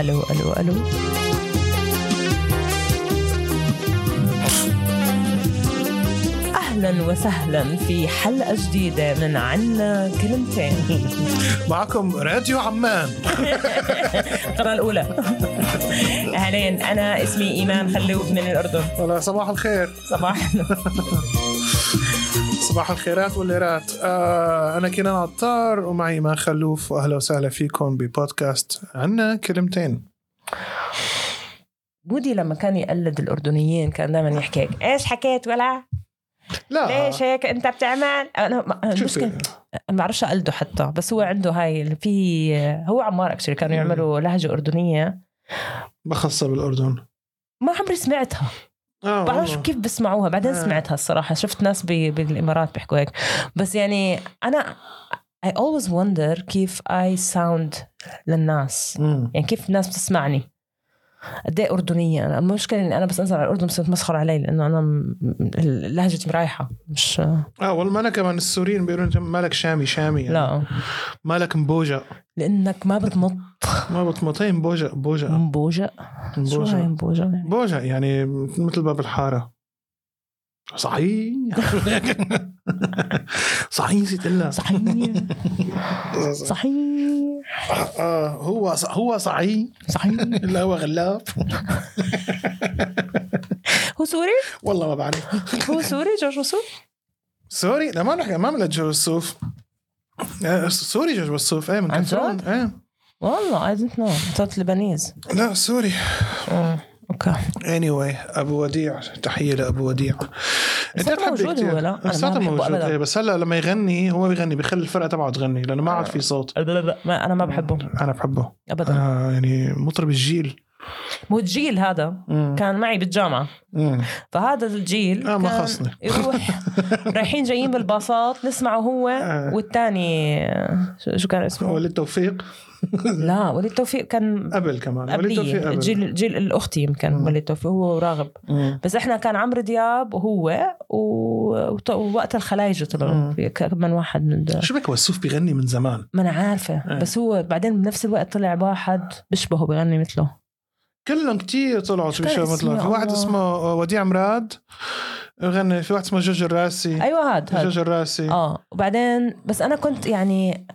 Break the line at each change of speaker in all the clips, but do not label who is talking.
الو الو الو اهلا وسهلا في حلقه جديده من عنا كلمتين
معكم راديو عمان
القناه الاولى اهلين انا اسمي ايمان خلوب من الاردن
ولا صباح الخير
صباح النور.
صباح الخيرات والليرات آه أنا كنان عطار ومعي ما خلوف وأهلا وسهلا فيكم ببودكاست عنا كلمتين
جودي لما كان يقلد الاردنيين كان دائما يحكي هيك ايش حكيت ولا
لا
ليش هيك انت بتعمل انا ما-
شوفي،
المشكله ما بعرفش اقلده حتى بس هو عنده هاي اللي في هو عمار اكشلي كانوا يعملوا لهجه اردنيه
ما خاصة بالأردن
ما عمري سمعتها
آه
بعرفش
والله.
كيف بسمعوها بعدين
آه.
سمعتها الصراحة شفت ناس بي بالإمارات بيحكوا هيك بس يعني أنا I always wonder كيف I sound للناس
مم.
يعني كيف الناس بتسمعني قد ايه اردنيه انا المشكله اني انا بس انزل على الاردن بصير تمسخر علي لانه انا م- م- لهجتي مرايحه مش
آه والله أنا كمان السوريين بيقولوا أنت مالك شامي شامي يعني.
لا
مالك مبوجة
لانك ما بتمط
ما بتمطين مبوجة بوجة
مبوجة شو هاي
مبوجة
مبوجة
بوجة يعني مثل باب الحارة صحيح صحيح نسيت إلا
صحيح صحيح
آه هو هو صحيح
صحيح
لا هو غلاب
هو سوري
والله ما بعرف
هو سوري جورج وسوف
سوري لا ما نحكي ما عملت جورج وسوف آه، سوري جورج وسوف ايه من
عن
كثرة-
جد؟
ايه
والله I don't know آه، I thought Lebanese
لا سوري
اوكي
اني anyway, ابو وديع تحيه لابو وديع انت
لساته
بتحب
موجود
كتير.
هو، لا؟ أنا ما
لساته
بحبه
موجود
أبداً.
إيه، بس هلا لما يغني هو بيغني بيخلي الفرقه تبعه تغني لانه ما عاد في صوت
ما انا ما بحبه
انا بحبه
ابدا
انا يعني مطرب الجيل
مو الجيل هذا
مم.
كان معي بالجامعه
مم.
فهذا الجيل
آه، ما
كان
خصني.
يروح رايحين جايين بالباصات نسمعه هو
آه.
والثاني شو شو كان اسمه؟
وليد توفيق
لا وليد توفيق كان
قبل كمان وليد توفيق
قبلية
قبل
جيل جيل الاخت يمكن
مم.
وليد توفيق هو وراغب
مم.
بس احنا كان عمرو دياب وهو و- وط- ووقت الخلايجه طلعوا
مم.
في كمان واحد من د-
شو بك وسوف بيغني من زمان
ما انا عارفه
آه.
بس هو بعدين بنفس الوقت طلع واحد بشبهه بغني مثله
كلهم كتير طلعوا شو
كان
بيشوفوا
اسمه
مثلا في
يا
واحد
الله.
اسمه آه، وديع مراد غني في واحد اسمه جورج الراسي
ايوه هاد هاد
جورج الراسي
اه وبعدين بس انا كنت يعني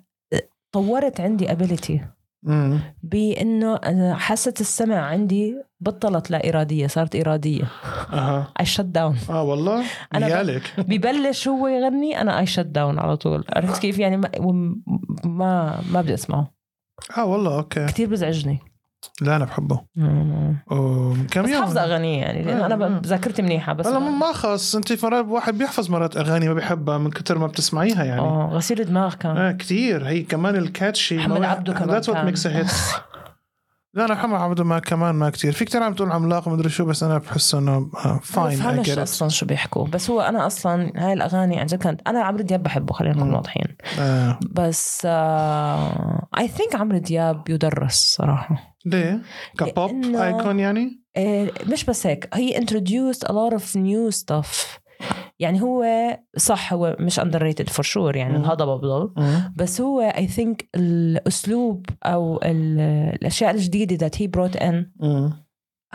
طورت عندي ابيلتي
مم.
بانه أنا حاسه السمع عندي بطلت لا اراديه صارت اراديه
اها
اي شت داون
اه والله
أنا
نيالك
ببلش هو يغني انا اي شت داون على طول عرفت كيف يعني ما وم- ما, ما بدي اسمعه
اه والله اوكي
كثير بزعجني
لا انا بحبه
مم.
أم، كم
بس
يوم
حافظه اغانيه يعني لانه انا
آه.
ب- ذاكرتي منيحه بس
والله ما خص انت مرات واحد بيحفظ مرات اغاني ما بيحبها من كتر ما بتسمعيها يعني
اه غسيل دماغ كان
اه كثير هي كمان الكاتشي
محمد عبده كمان
ذاتس وات
كان.
ميكس هيت لا انا محمد عبده ما كمان ما كتير في كتير عم تقول عملاق ومدري شو بس انا بحس آه، انه فاين
ما بفهمش اصلا شو بيحكوا بس هو انا اصلا هاي الاغاني عن جد كانت انا عمرو دياب بحبه خلينا نكون
مم.
واضحين
آه.
بس اي ثينك عمرو دياب يدرس صراحه
ليه؟ كبوب
لأنه-
ايكون يعني؟
آه، مش بس هيك هي introduced a lot of new stuff يعني هو صح هو مش underrated for sure يعني
مم.
الهضبه بضل بس هو اي ثينك الاسلوب او ال- الاشياء الجديده that he brought in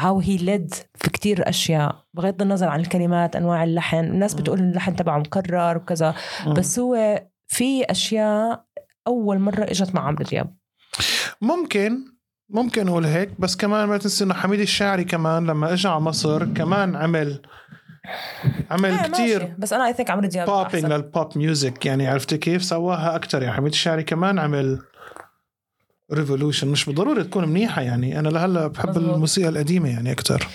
how he led في كتير اشياء بغض النظر عن الكلمات انواع اللحن الناس
مم.
بتقول اللحن تبعه مكرر وكذا بس هو في اشياء اول مره اجت مع عمرو دياب
ممكن ممكن اقول هيك بس كمان ما تنسي انه حميد الشاعري كمان لما اجى على مصر كمان عمل عمل
آه،
كتير
ماشي. بس انا اي ثينك عمرو دياب
بوبينج
أحسن.
للبوب ميوزك يعني عرفتي كيف سواها اكثر يعني حميد الشاعري كمان عمل ريفولوشن مش بالضروره تكون منيحه يعني انا لهلا بحب
مظبوط.
الموسيقى القديمه يعني اكثر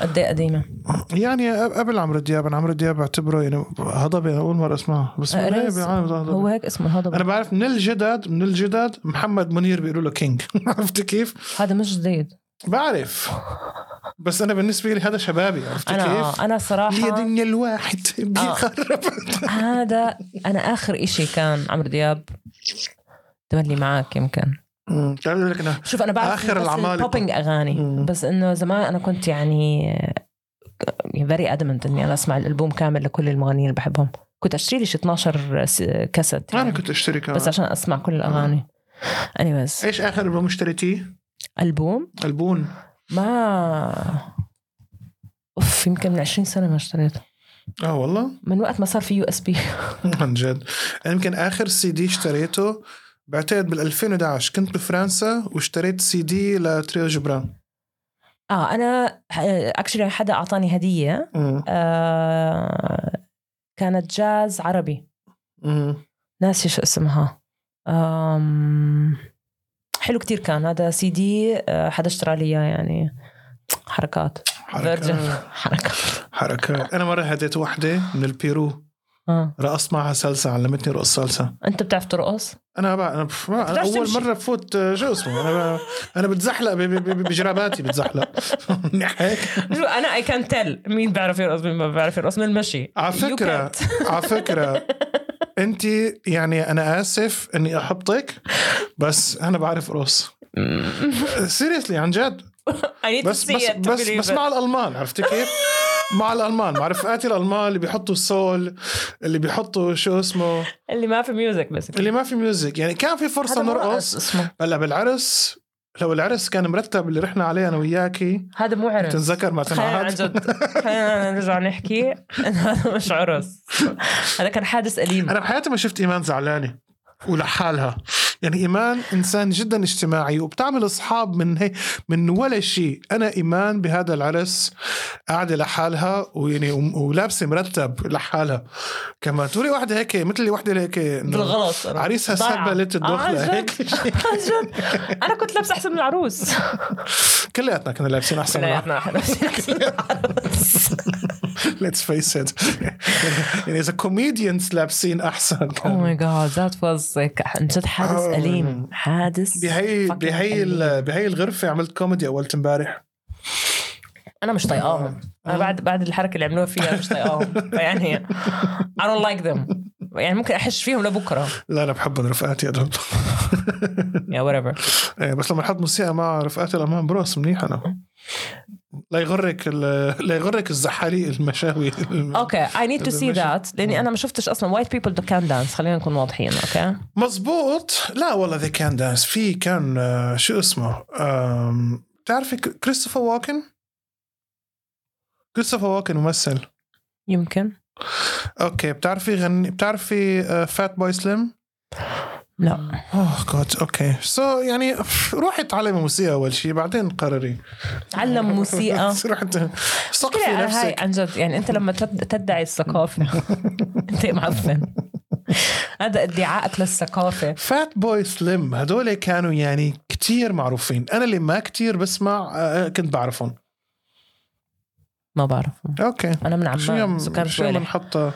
قد ايه قديمه
يعني قبل عمرو دياب انا عمرو دياب بعتبره يعني هضبه أنا اول مره اسمعه بس
آه،
ليه
رز.
بالعالم ده هضبة؟
هو هيك اسمه
انا
هذا
بعرف من الجدد من الجدد محمد منير بيقولوا له كينج عرفت كيف؟
هذا مش جديد
بعرف بس انا بالنسبه لي هذا شبابي عرفت
انا
كيف؟
آه، انا
لي
صراحه
دنيا الواحد بيخرب
هذا انا اخر إشي كان عمرو دياب تملي معاك يمكن
أمم، تعال أقول لك انا
شوف انا بعرف
آخر العمالقة.
بوبينج اغاني
مم.
بس انه زمان انا كنت يعني فيري ادمنت اني انا اسمع الالبوم كامل لكل المغنيين اللي بحبهم كنت اشتري لي شي 12 س- كاسيت
انا
يعني
كنت اشتري كمان
بس عشان اسمع كل الاغاني اني
إيه. ايش اخر البوم اشتريتيه؟
البوم
البون
ما اوف يمكن من 20 سنه ما اشتريته
اه والله
من وقت ما صار في يو اس بي
عن جد انا يمكن اخر سي دي اشتريته بعتقد بال 2011 كنت بفرنسا واشتريت سي دي لتريو جبران
اه انا اكشلي حدا اعطاني هديه
أمم.
آه كانت جاز عربي
أمم.
ناسي شو اسمها أم... حلو كتير كان هذا سي دي آه، حدا اشترى لي اياه يعني حركات
حركات
Virgin. حركات
حركات انا مره هديت وحده من البيرو
آه.
رقصت معها سلسة علمتني رقص سلسة
انت بتعرف ترقص
انا بقى انا, بف- ما- أنا
بتعرف
اول
تمشي.
مره بفوت آه، شو اسمه انا ب... انا بتزحلق ب... ب... ب- بجراباتي بتزحلق هيك
شو انا اي كان تيل مين بيعرف يرقص مين ما بيعرف يرقص من المشي
على
You
فكرة-
can't.
على فكره انت يعني انا اسف اني احبطك بس انا بعرف رقص سيريسلي عن جد
I need to
بس
see
بس
it to
بس,
believe
بس
it.
مع الالمان عرفتي كيف؟ مع الالمان مع رفقاتي الالمان اللي بيحطوا السول اللي بيحطوا شو اسمه
اللي ما في ميوزك بس
اللي ما في ميوزك يعني كان في فرصه
هذا مو رقص
نرقص
اسمه
هلا بالعرس لو العرس كان مرتب اللي رحنا عليه انا وياكي
هذا مو عرس
تنذكر ما
خلينا عن
تنعاد
جد خلينا نرجع نحكي إن هذا مش عرس هذا كان حادث أليم
انا بحياتي ما شفت ايمان زعلانه ولحالها يعني ايمان انسان جدا اجتماعي وبتعمل اصحاب من هي من ولا شيء انا ايمان بهذا العرس قاعده لحالها ويعني وم- ولابسه مرتب لحالها كما توري واحده هيك مثل واحده هيك إنه
بالغلط أنا.
عريسها
ضايعة.
سبلت
آه،
الدخله
عن
هيك
جد. عن جد. انا كنت لابسه احسن من العروس
كلياتنا كنا لابسين احسن من
كلياتنا إحنا لابسين أحسن من العروس
ليتس فيس ات يعني اذا كوميديانز لابسين احسن
او ماي جاد ذات واز عن جد حادث
آه.
اليم حادث
بهي
fucking
بهي ال- بهي الغرفه عملت كوميدي اول امبارح
انا مش طايقاهم انا
آه.
بعد بعد الحركه اللي عملوها فيها مش طايقاهم يعني I don't like them يعني ممكن احش فيهم لبكره
لا انا بحبهم رفقاتي هدول
يا whatever
إيه، بس لما نحط موسيقى مع رفقاتي الامام بروس منيح انا لا يغرك ال- لا يغرك الزحاليق المشاوي
اوكي اي نيد تو سي
ماشي. آه.
ذات لاني انا ما شفتش اصلا وايت بيبل كان دانس خلينا نكون واضحين اوكي
مزبوط لا والله ذا كان دانس في كان آه، شو اسمه آم، بتعرفي ك- كريستوفر واكن كريستوفر واكن ممثل
يمكن
اوكي بتعرفي غني بتعرفي آه، فات بوي سليم
لا
اوه جاد اوكي سو يعني روحي اتعلمي موسيقى اول شيء بعدين قرري
تعلم موسيقى
روحي ت- ثقفي
آه. مشكلة هاي
نفسك
عن جد يعني انت لما تد- تدعي الثقافة انت معفن هذا ادعائك للثقافة
فات بوي سليم هدول كانوا يعني كتير معروفين انا اللي ما كتير بسمع آه، كنت بعرفهم
ما بعرف
اوكي
انا من
شو
عمان سكان
يوم شو يوم
شوالح
نحط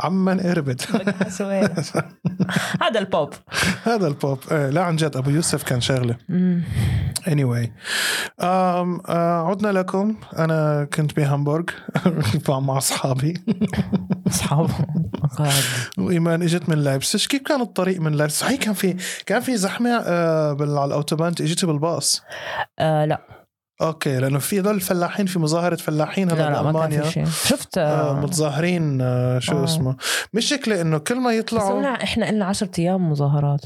عمان قربت
سوالح. هذا البوب
هذا البوب آه، لا عن جد ابو يوسف كان شغله
مم.
anyway um, uh, عدنا لكم انا كنت بهامبورغ مع اصحابي
اصحابه God.
وايمان اجت من لايبسش كيف كان الطريق من لايبسش صحيح كان في كان في زحمه آه، بال- على الاوتوبان انت اجيتي بالباص
آه لا
اوكي لانه في هذول الفلاحين في مظاهره فلاحين
لا
هلا
لا ما كان
بالمانيا
في شيء شفت
آه،
آه،
متظاهرين آه، شو
آه.
اسمه مشكله انه كل ما
بس
يطلعوا
قلنا احنا قلنا 10 ايام مظاهرات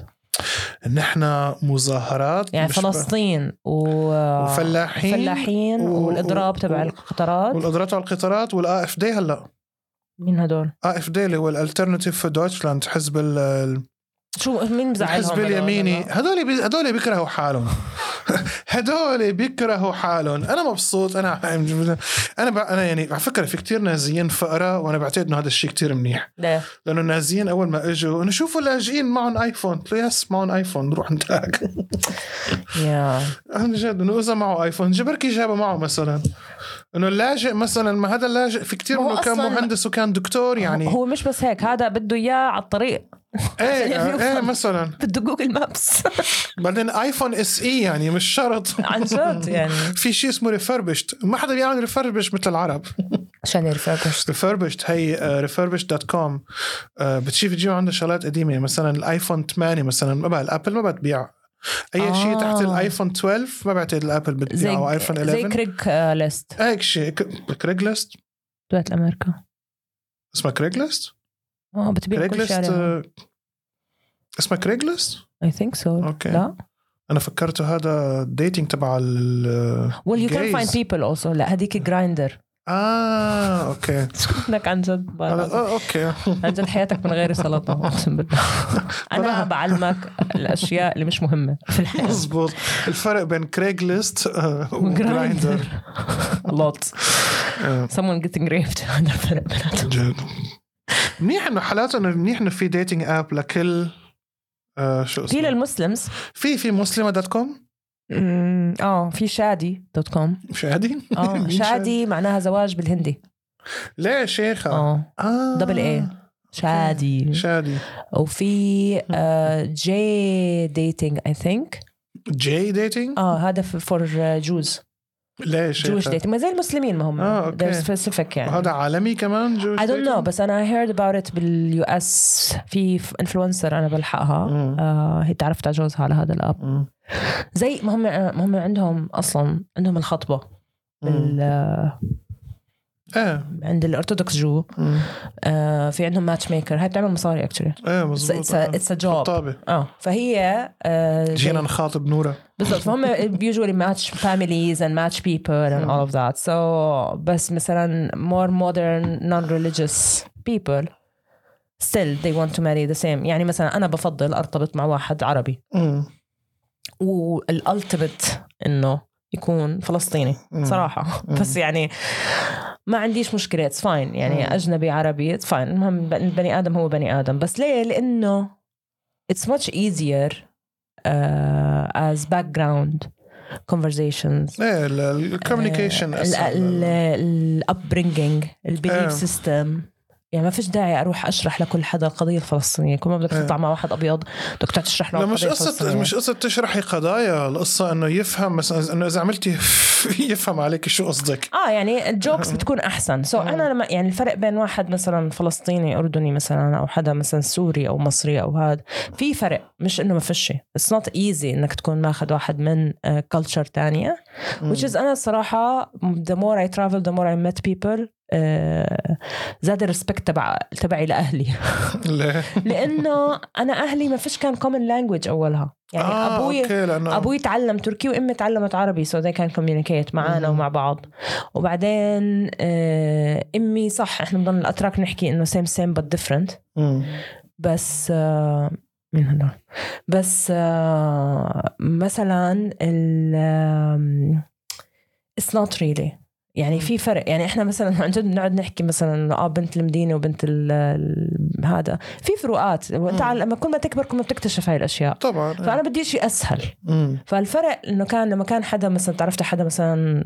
نحن مظاهرات
يعني
مش ب-
فلسطين و...
وفلاحين
فلاحين
و-
والاضراب تبع
و-
القطارات
والقدرات على القطارات والاي اف دي هلا
مين هدول؟
اي اف دي اللي هو الالترناتيف في دويتشلاند حزب ال- ال-
شو مين مزعلهم؟
الحزب
هدول؟
اليميني هدول بي- هدول بيكرهوا حالهم هدول بيكرهوا حالهم انا مبسوط يعني انا انا ب- انا يعني على فكره في كتير نازيين فقراء وانا بعتقد انه هذا الشيء كتير منيح
ليه؟
لانه النازيين اول ما اجوا انه شوفوا اللاجئين معهم ايفون قلت له يس معهم ايفون روح انتاك
يا
عن جد انه اذا معه ايفون جبركي جابه معه مثلا انه اللاجئ مثلا ما هذا اللاجئ في كتير
هو
منه كان
أصلاً-
مهندس وكان دكتور يعني
هو مش بس هيك هذا بده اياه على الطريق
ايه
يعني
ايه
يوصل.
مثلا
بده جوجل مابس
بعدين ايفون اس اي يعني مش شرط
عن جد يعني
في شيء اسمه ريفربشت ما حدا بيعمل ريفربش مثل العرب
عشان يرفعكش
ريفربشت هي آه، ريفربشت دوت كوم آه، بتشوف تجيب عندها شغلات قديمه مثلا الايفون 8 مثلا ما بقى الابل ما بتبيع اي
آه.
شيء تحت الايفون 12 ما بعتقد الابل بتبيع
زي
او ايفون
زي
11
كريك آه، ليست
هيك شيء كريج ليست
دوله امريكا
اسمها كريج ليست
اه بتبيع
كريج
كل شيء
ليست
عليها.
آه، اسمها كريجلس
اي ثينك سو
اوكي
لا
انا فكرته هذا الديتنج تبع ال
ويل يو كان
Gays.
فايند بيبل اوسو لا هذيك جرايندر
اه
آه.
اوكي
لك عن جد
أنا- آه، اوكي
عن جد حياتك من غير سلطه اقسم بالله انا
طلع.
بعلمك الاشياء اللي مش مهمه في الحياه
مزبوط الفرق بين آه، كريج ليست وجرايندر
وجرايندر لوت someone getting raped هذا الفرق بيناتهم
جد منيح انه حالات انه منيح انه في ديتنج اب لكل آه، شو
في
اسمه
للمسلمز
في في مسلمه دوت كوم
أمم، اه في شادي دوت كوم
شادي
اه
مين
شادي معناها زواج بالهندي
ليه شيخه
اه
اه
دبل ايه شادي
شادي
وفي آه، جي ديتنج اي ثينك
جي ديتنج
اه هذا فور جوز آه،
ليه
جوش
شيخه
ديتنج ما زي المسلمين ما هم
آه،
اه
أوكي.
سبيسيفيك يعني
هذا عالمي كمان جوش
I don't know بس انا I heard about it باليو اس في انفلونسر انا بلحقها آه هي تعرفت على جوزها على هذا الاب زي ما هم ما هم عندهم اصلا عندهم الخطبه بال
ايه
عند الارثوذكس جو
مم.
آه في عندهم ماتش ميكر هاي بتعمل مصاري اكشلي
ايه مزبوط آه.
اتس ا جوب
طابة
اه فهي آه زي-
جينا نخاطب نورا
بالضبط فهم usually match families and match people and all of that so بس مثلا more modern non-religious people still they want to marry the same يعني مثلا أنا بفضل أرتبط مع واحد عربي
مم.
والالتيميت إنه يكون فلسطيني
مم.
صراحة
مم.
بس يعني ما عنديش مشكلة it's fine
مم.
يعني أجنبي عربي it's fine المهم ب- بني آدم هو بني آدم بس ليه لأنه it's much easier uh, as background conversations Uh,
ايه الكوميونيكيشن
ال- آه، ال- الابرينجينج
آه.
البيليف سيستم يعني ما فيش داعي اروح اشرح لكل حدا القضيه الفلسطينيه كل ما بدك
آه.
تطلع مع واحد ابيض بدك تقعد تشرح له
لا
عن
مش
القضية
قصة
الفلسطينية.
مش قصة تشرحي قضايا القصة انه يفهم مثلا انه اذا عملتي يفهم عليك شو قصدك
اه يعني الجوكس بتكون احسن سو so
آه.
انا لما يعني الفرق بين واحد مثلا فلسطيني اردني مثلا او حدا مثلا سوري او مصري او هذا في فرق مش انه ما فيش شيء اتس نوت ايزي انك تكون ماخذ واحد من كلتشر ثانيه
مم.
which is أنا الصراحة the more I travel the more I met people آه، زاد الريسبكت تبع تبعي لأهلي
ليه؟
لأنه أنا أهلي ما فيش كان common language أولها يعني
آه،
أبوي
أوكي، لأنه
أبوي تعلم تركي وأمي تعلمت عربي so they can communicate معانا
مم.
ومع بعض وبعدين آه، أمي صح إحنا بضلنا الأتراك نحكي إنه same same but different
مم.
بس آه، مين هدول بس آه، مثلا ال آم، it's not really يعني في فرق يعني احنا مثلا عن جد بنقعد نحكي مثلا إنه اه بنت المدينه وبنت ال- ال- هذا في فروقات تعال لما كل ما تكبر كل ما بتكتشف هاي الاشياء
طبعا
فانا بدي شيء اسهل
مم.
فالفرق انه كان لما كان حدا مثلا تعرفت على حدا مثلا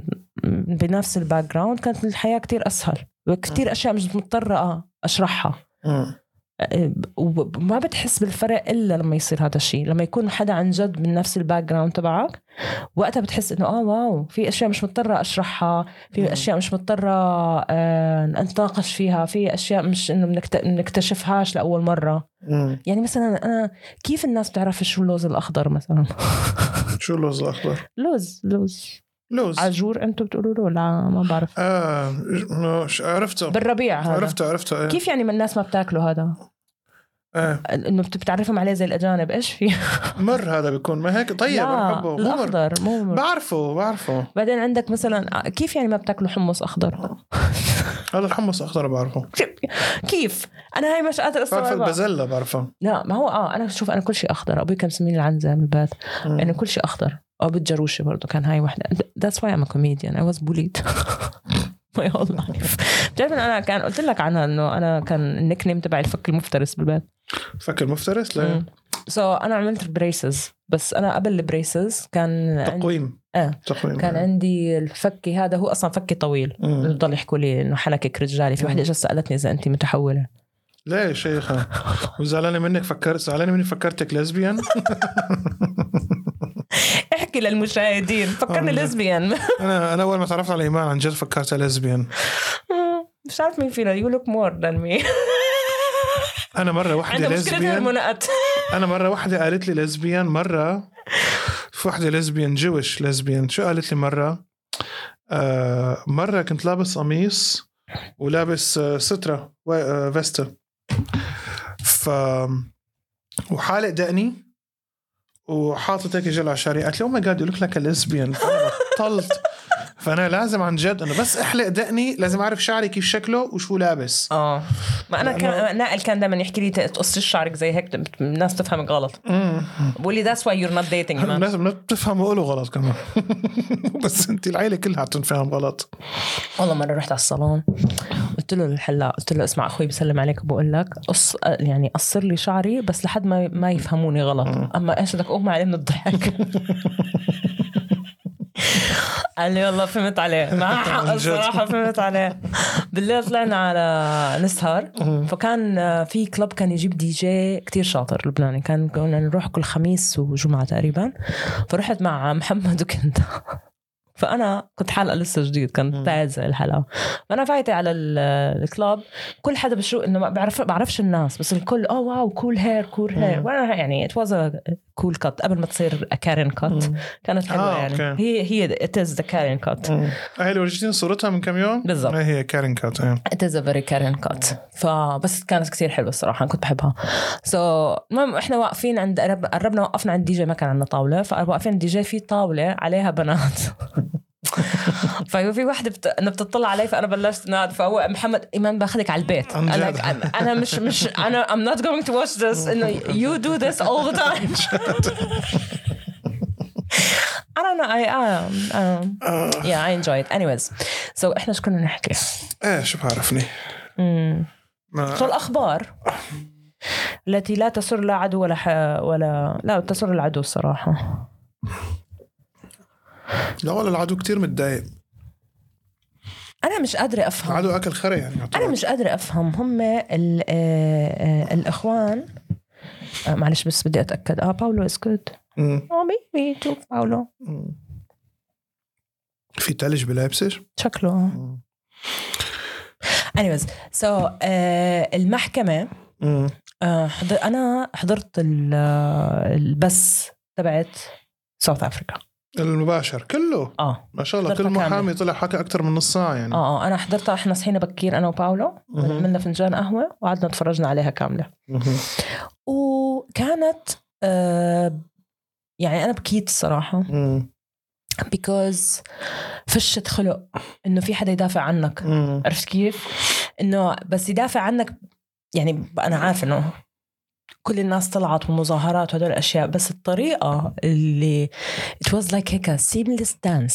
بنفس الباك جراوند كانت الحياه كتير اسهل وكتير اشياء مش مضطره اشرحها
مم.
وما بتحس بالفرق الا لما يصير هذا الشيء لما يكون حدا عن جد من نفس الباك جراوند تبعك وقتها بتحس انه اه واو في اشياء مش مضطره اشرحها
مم.
في اشياء مش مضطره آه، نتناقش فيها في اشياء مش انه بنكت- بنكتشفهاش لاول مره
مم.
يعني مثلا انا كيف الناس بتعرف شو اللوز الاخضر مثلا
شو اللوز الاخضر؟
لوز لوز
لوز
عجور انتم بتقولوا له لا ما بعرف
اه ش- عرفته
بالربيع هذا
عرفته عرفته ايه
كيف يعني من الناس ما بتاكله هذا
ايه
انه بت- بتعرفهم عليه زي الاجانب ايش في
مر هذا بيكون ما هيك طيب
لا،
انا بحبه مو مر
الاخضر مو مر.
بعرفه بعرفه
بعدين عندك مثلا كيف يعني ما بتاكلوا حمص اخضر؟
هذا الحمص اخضر بعرفه
كيف؟ انا هاي مش قادر
بعرف
استوعبها
البازيلا بعرفه
لا ما هو اه انا شوف انا كل شيء اخضر ابوي كان مسميني العنزه من البيت
مم.
انا كل شيء اخضر ابو الجروشه برضه كان هاي وحده That's why I'm a comedian I was bullied my whole life بتعرف إن انا كان قلت لك عنها انه انا كان النيك نيم تبعي الفك المفترس بالبيت
فكر مفترس لا
سو so انا عملت بريسز بس انا قبل البريسز كان عندي
تقويم
آه.
تقويم
كان عندي الفكي هذا هو اصلا فكي طويل
مم.
بضل يحكوا لي انه حلكك رجالي في وحده اجت سالتني اذا انت متحوله
ليه يا شيخة وزعلانة منك فكرت زعلانة مني فكرتك ليزبيان
احكي للمشاهدين فكرني
والله.
ليزبيان
أنا أنا أول ما تعرفت على إيمان عن جد فكرتها ليزبيان
مش عارف مين فينا يو لوك مور ذان مي
أنا مرة وحدة
عندها مشكله
ليزبيان
هرمونات
أنا مرة وحدة قالت لي ليزبيان مرة في وحدة ليزبيان جوش ليزبيان شو قالت لي مرة آه مرة كنت لابس قميص ولابس آه سترة و- آه، فيستا ف وحالق دقني وحاطط هيك جل على شعري قالت لي "Oh او ماي جاد يو لوك لك ليزبيان بطلت فانا لازم عن جد انه بس احلق دقني لازم اعرف شعري كيف شكله وشو لابس
اه ما انا
لأنه-
كان نائل كان دائما يحكي لي تقصي شعرك زي هيك بت- الناس تفهمك غلط
أمم.
بقول لي ذاتس واي يور نوت ديتنج مان
الناس ما بتفهم وقوله غلط كمان بس انت العيله كلها تنفهم غلط
والله مره رحت على الصالون قلت له للحلاق قلت له اسمع اخوي بسلم عليك وبقول لك قص يعني قصر لي شعري بس لحد ما ما يفهموني غلط اما ايش بدك اغمى عليه من الضحك قال لي والله فهمت عليه مع
عن
حق
جد.
الصراحه فهمت عليه بالليل طلعنا على نسهر فكان آه، في كلب كان يجيب دي جي كتير شاطر لبناني كان كنا نروح كل خميس وجمعه تقريبا فرحت مع محمد وكنت فانا كنت حلقه لسه جديد
مم.
كانت تعز الحلقه فانا فايته على ال- الكلاب كل حدا بشو انه ما بعرف بعرفش الناس بس الكل اه واو كول هير كول هير
مم.
وانا يعني ات واز كول كات قبل ما تصير كارين كات كانت حلوه
آه،
يعني
أوكي.
هي هي ات از ذا كارين كات
أمم. هاي اللي ورجتيني صورتها من كم يوم
بالضبط.
ما هي كارين كات إيه.
It is a very Karen cut فبس كانت كثير حلوه الصراحه كنت بحبها سو so, المهم احنا واقفين عند قرب- قربنا وقفنا عند دي جي ما كان عندنا طاوله فواقفين عند دي جي في طاوله عليها بنات ففي وحده بت... انه بتطلع علي فانا بلشت ناد فهو محمد ايمان باخذك على البيت
عن
انا
جد.
انا مش مش انا I'm not going to watch this انه you do this all the time I don't know I um, um,
آه.
yeah I enjoy it anyways so احنا شو كنا نحكي؟
ايه شو بعرفني
امم
ما
شو الاخبار التي لا تسر لا عدو ولا ح... ولا لا تسر العدو الصراحه
لا والله العدو كتير متضايق
انا مش قادره افهم
العدو اكل خرا يعني يعتبر.
انا مش قادره افهم هم ال... آه، آه، الاخوان آه، معلش بس بدي اتاكد اه باولو از جود
أمم.
اه مي تو باولو
أمم. في تلج بلايبسج
شكله اه
أمم.
anyways سو so, آه، المحكمه
أمم.
آه، حضر... انا حضرت ال... آه، البث تبعت ساوث افريكا
المباشر كله
اه
ما شاء الله كل
حضرتها كاملة.
محامي طلع حكى اكثر من نص ساعه يعني
اه اه انا حضرتها احنا صحينا بكير انا وباولو
مهم.
عملنا فنجان قهوه وقعدنا تفرجنا عليها كامله
مهم.
وكانت آه يعني انا بكيت الصراحه
أمم.
بيكوز فشة خلق انه في حدا يدافع عنك
أمم.
عرفت كيف؟ انه بس يدافع عنك يعني انا عارف انه كل الناس طلعت ومظاهرات وهدول الاشياء بس الطريقه اللي it was like هيك seamless dance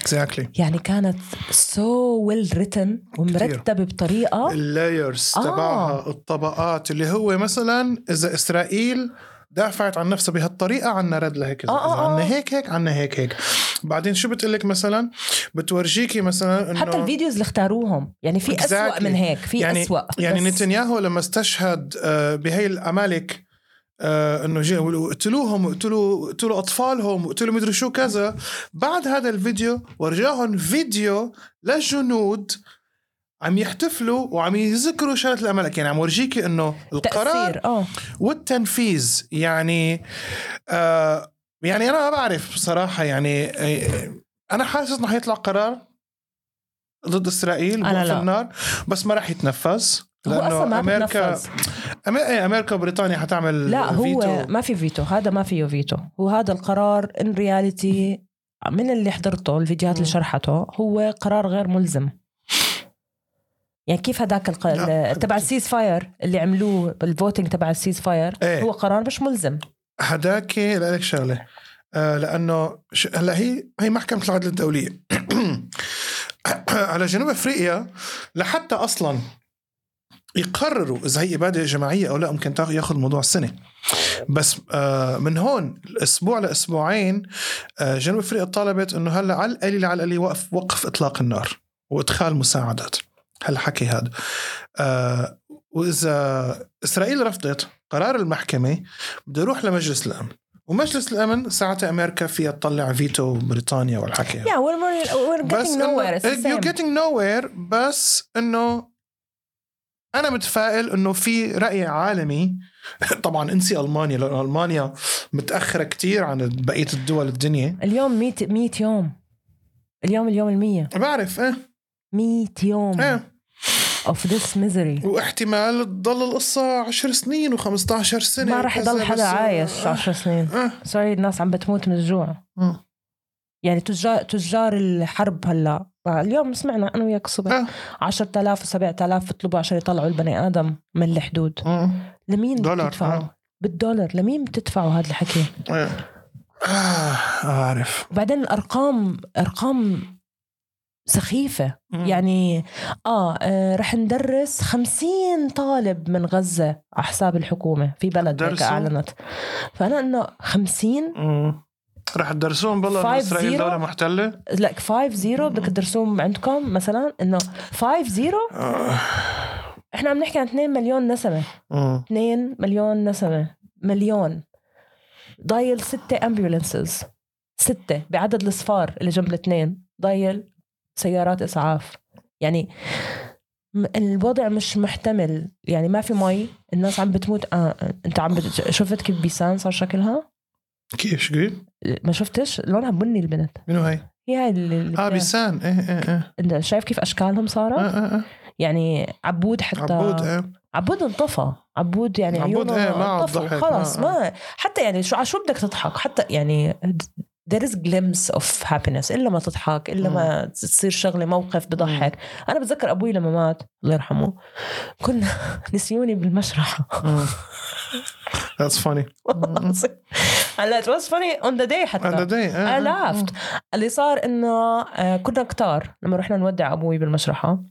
اكزاكتلي
يعني كانت سو ويل ريتن ومرتبه بطريقه
اللايرز
آه.
تبعها الطبقات اللي هو مثلا اذا اسرائيل دافعت عن نفسها بهالطريقه عنا رد لهيك إذا-
آه، آه،
اذا
آه.
عنا هيك هيك عنا هيك هيك بعدين شو بتقلك مثلا بتورجيكي مثلا انه
حتى الفيديوز اللي اختاروهم يعني في اسوء
Exactly.
من هيك في
يعني-
اسوء
يعني
بس-
نتنياهو لما استشهد آه، بهي الامالك آه، انه جاي يقولوا اقتلوهم اقتلوا اقتلوا اطفالهم اقتلوا مدري شو كذا بعد هذا الفيديو ورجاهم فيديو لجنود عم يحتفلوا وعم يذكروا شهادة الأمالك يعني عم ورجيكي إنه القرار
تاثير اه
والتنفيذ يعني آه يعني أنا ما بعرف بصراحة يعني آه، أنا حاسس إنه حيطلع قرار ضد إسرائيل
أنا
وقف
لا.
النار بس ما راح يتنفذ
هو اصلا ما
أمريكا
بتنفذ
أم- إيه، امريكا وبريطانيا حتعمل
لا هو
فيتو.
ما في فيتو هذا ما فيه فيتو هو هذا القرار ان رياليتي من اللي حضرته الفيديوهات اللي
مم.
شرحته هو قرار غير ملزم يعني كيف هذاك الق...
لا.
تبع السيز فاير اللي عملوه بالفوتنج تبع السيز فاير
إيه.
هو قرار مش ملزم
هداك لك شغله آه لانه ش- هلا هي هي محكمه العدل الدوليه على جنوب افريقيا لحتى اصلا يقرروا اذا هي اباده جماعيه او لا ممكن تاخ- ياخذ موضوع سنه بس آه من هون اسبوع لاسبوعين آه جنوب افريقيا طالبت انه هلا على القليله على القليله وقف وقف اطلاق النار وادخال مساعدات هالحكي هذا آه واذا اسرائيل رفضت قرار المحكمه بده يروح لمجلس الامن ومجلس الامن ساعتها امريكا فيها تطلع فيتو بريطانيا والحكي هذا.
Yeah, we're, we're, we're
بس إيه،
getting nowhere. It's the
يو
same.
جيتنج نو وير بس انه انا متفائل انه في راي عالمي طبعا انسي المانيا لانه المانيا متاخره كتير عن بقيه الدول الدنيا
اليوم 100 100
إيه،
يوم اليوم اليوم المية
بعرف ايه
100 يوم
ايه
of this misery
واحتمال تضل القصه 10 سنين و15 سنه
ما راح
وكذا،
يضل
بس-
حدا عايش 10 سنين
آه.
سوري الناس عم بتموت من الجوع
آه.
يعني تجار تجار الحرب هلا اليوم سمعنا انا وياك الصبح
آه.
10000 و7000 بيطلبوا عشان يطلعوا البني ادم من الحدود
آه.
لمين
دولار،
بتدفعوا؟
آه.
بالدولار لمين بتدفعوا هذا الحكي؟
إيه. آه، عارف
وبعدين الارقام ارقام سخيفه
مم.
يعني آه, اه رح ندرس خمسين طالب من غزة على حساب الحكومة في بلد هيك
درسوا؟
أعلنت فأنا إنه خمسين
مم. رح تدرسون بالله إنه
5-0
اسرائيل دوله محتله
لك فايف زيرو بدك تدرسوهم عندكم مثلا إنه فايف زيرو
آه.
إحنا عم نحكي عن 2 مليون نسمة
مم.
2 مليون نسمة مليون ضايل ستة أمبيولنسز ستة بعدد الصفار اللي جنب الاثنين ضايل سيارات إسعاف يعني م- الوضع مش محتمل يعني ما في مي الناس عم بتموت آه. انت عم بت... شفت كيف بيسان صار شكلها
كيف شو قلت؟
ما شفتش لونها بني البنت
منو هاي؟
هي هاي اللي
اه بيسان ايه ايه ايه
انت شايف كيف اشكالهم
آه،
صارت
آه، آه.
يعني عبود حتى
عبود ايه
عبود انطفى عبود يعني
عبود،
عيونه
إيه، ما عاد
انطفوا
ضحك،
خلص
آه،
ما حتى يعني شو على شو بدك تضحك حتى يعني there is glimpse of happiness الا ما تضحك الا ما تصير شغله موقف بضحك انا بتذكر ابوي لما مات الله يرحمه كنا نسيوني بالمشرح
ذاتس فاني
والله العظيم. هلا it was funny on the day
اند
حتى
داي
I
إيه،
laughed اللي صار انه آه، كنا كتار لما رحنا نودع ابوي بالمشرحه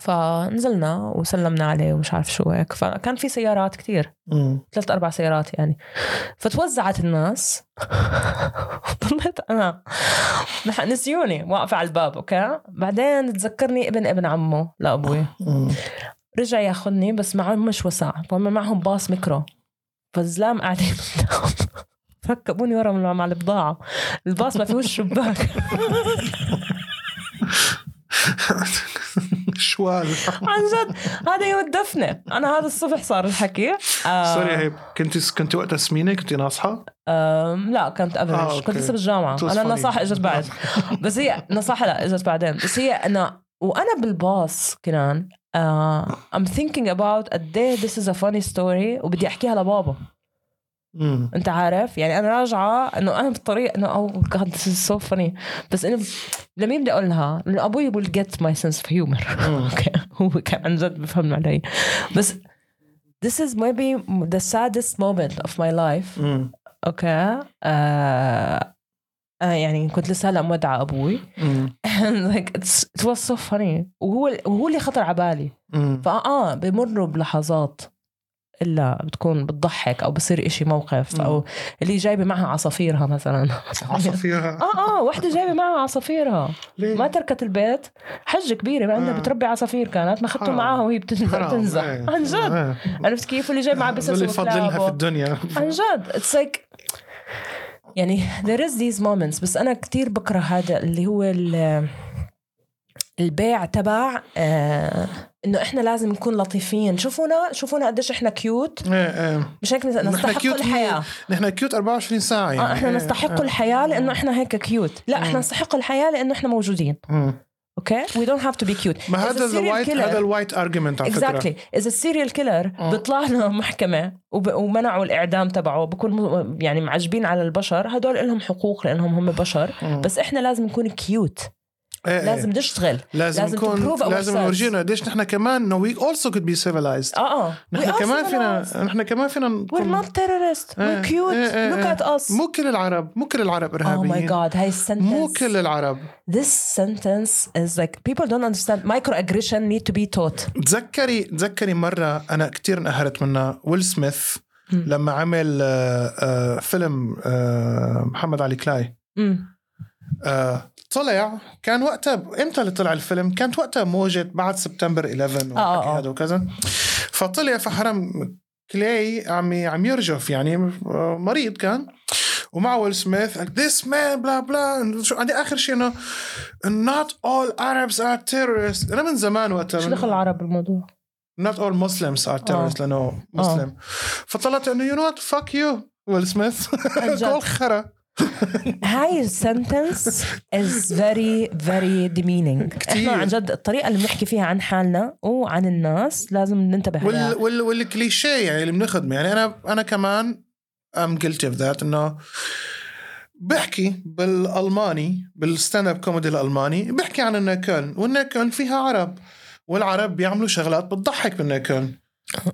فنزلنا وسلمنا عليه ومش عارف شو هيك فكان في سيارات كتير ثلاث اربع سيارات يعني فتوزعت الناس ضليت انا نح- نسيوني واقفه على الباب اوكي بعدين تذكرني ابن ابن عمه لابوي رجع ياخذني بس معهم مش وسع فهم معهم باص ميكرو فالزلام قاعدين قدام ركبوني ورا من مع البضاعه الباص ما فيهوش شباك
شوال
عن جد هذا يوم الدفنه انا هذا الصبح صار الحكي آه،
سوري هيب كنت كنت وقتها سمينه كنت ناصحه
أم، لا كانت
آه،
افريج
أوكي.
كنت لسه بالجامعه
It was
انا
funny.
النصاحه اجت بعد بس هي النصاحه لا اجت بعدين بس هي انا وانا بالباص كنان uh, I'm thinking about قد ايه this is a funny story وبدي احكيها لبابا
مم.
انت عارف يعني انا راجعه انه انا بالطريق انه oh god this is so funny بس انه لمين بدي اقول لها؟ لانه ابوي will get my sense of humor اوكي هو كان عن جد بفهم علي بس this is maybe the saddest moment of my life
مم.
اوكي آه آه يعني كنت لسه هلا مودعه ابوي
مم.
And like it's, it was so funny وهو وهو اللي خطر على بالي
مم.
فاه بمروا بلحظات الا بتكون بتضحك او بصير إشي موقف او اللي جايبه معها عصافيرها مثلا
عصافيرها
اه اه وحده جايبه معها عصافيرها
ليه؟
ما تركت البيت حجه كبيره ما عندها
آه.
بتربي عصافير كانت ما اخذته
حرام.
معاها وهي بتنزل
حرام،
تنزل
إيه.
عن جد
إيه.
عرفت كيف اللي جايب معها
دول
بسس
يفضلها في
وكلابه.
الدنيا
عن جد اتس لايك يعني there is these moments بس انا كتير بكره هذا اللي هو ال- البيع تبع آه، انه احنا لازم نكون لطيفين شوفونا شوفونا قديش احنا كيوت
إيه، إيه.
مش هيك نستحق
كيوت
الحياه
نحن كيوت 24 ساعه
اه
يعني
احنا
إيه.
نستحق الحياه لانه احنا هيك كيوت لا احنا
مم.
نستحق الحياه لانه احنا موجودين
مم.
اوكي وي دونت هاف تو بي كيوت
ما هذا الوايت هذا الوايت ارجيومنت على آه. فكره
اكزاكتلي اذا السيريال كيلر بيطلع له محكمه وب... ومنعوا الاعدام تبعه بكون م- يعني معجبين على البشر هدول لهم حقوق لانهم هم بشر بس احنا لازم نكون كيوت
آه. إيه، إيه.
لازم نشتغل
لازم
لازم
نكون
to prove
لازم
ourselves.
نورجينا قديش نحن كمان نو وي اولسو كود بي سيفلايزد
اه اه
نحن كمان فينا نحن كمان فينا
وير
نكون-
نوت تيرورست وير
إيه،
كيوت
إيه، إيه،
لوك
إيه.
ات اس
مو كل العرب مو كل العرب
Oh my
ارهابيين
god, هاي
مو
السنتنس
كل العرب
this sentence is like people don't understand microaggression need to be taught.
تذكري تذكري مرة أنا كتير انقهرت منها ويل سميث
مم.
لما عمل آه، آه، فيلم آه، محمد علي كلاي
امم
آه، طلع كان وقتها امتى اللي طلع الفيلم كانت وقتها موجة بعد سبتمبر 11
آه،
والحكي
آه.
هذا وكذا فطلع فحرم كلاي عم عم يرجف يعني آه، مريض كان ومع ويل سميث قال this man بلا بلا شو عندي اخر شيء انه not all Arabs are terrorists انا من زمان وقتها
شو
من-
دخل آه. العرب بالموضوع؟
not all Muslims are terrorists لانه مسلم فطلعت انه you know what fuck you ويل سميث
عن جد.
قول خرا
هاي السنتنس از فيري فيري demeaning
كتير.
احنا عن جد الطريقه اللي بنحكي فيها عن حالنا وعن الناس لازم ننتبه
وال
لها
وال والكليشيه يعني اللي بنخدمه يعني انا انا كمان ام جلتي اوف ذات انه بحكي بالالماني بالستاند اب كوميدي الالماني بحكي عن النكن والنكن فيها عرب والعرب بيعملوا شغلات بتضحك بالنكن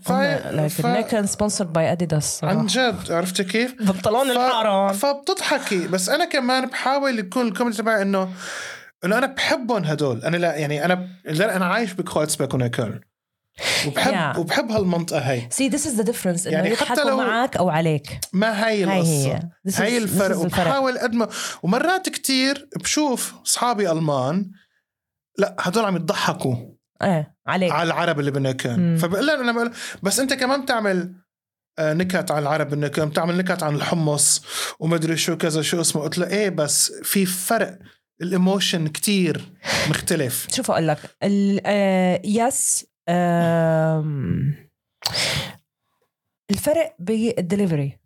فا-
لكن
فا-
كان سبونسرد باي اديداس
عن جد عرفتي كيف؟
بنطلون الحارون
فبتضحكي بس انا كمان بحاول يكون الكوميدي تبعي انه انه انا بحبهم هدول انا لا يعني انا ب- لا انا عايش بكريتسباك ونكن وبحب
Yeah.
وبحب هالمنطقه هي
سي ذس از ذا ديفرنس انه
يعني
يعني
حتى
يضحكوا
لو-
معك او عليك
ما
هاي
هي القصة
هي This is-
هي
this
الفرق
is الفرق
وبحاول قد ما ومرات كتير بشوف اصحابي المان لا هدول عم يضحكوا
ايه عليك
على العرب اللي بالنكان
مم.
فبقول لهم انا بقول بس انت كمان بتعمل آه، نكت على العرب بالنكان بتعمل نكت عن الحمص ومدري شو كذا شو اسمه قلت له ايه بس في فرق الايموشن كتير مختلف
شوف اقول لك ال- آه، يس آم، الفرق بالدليفري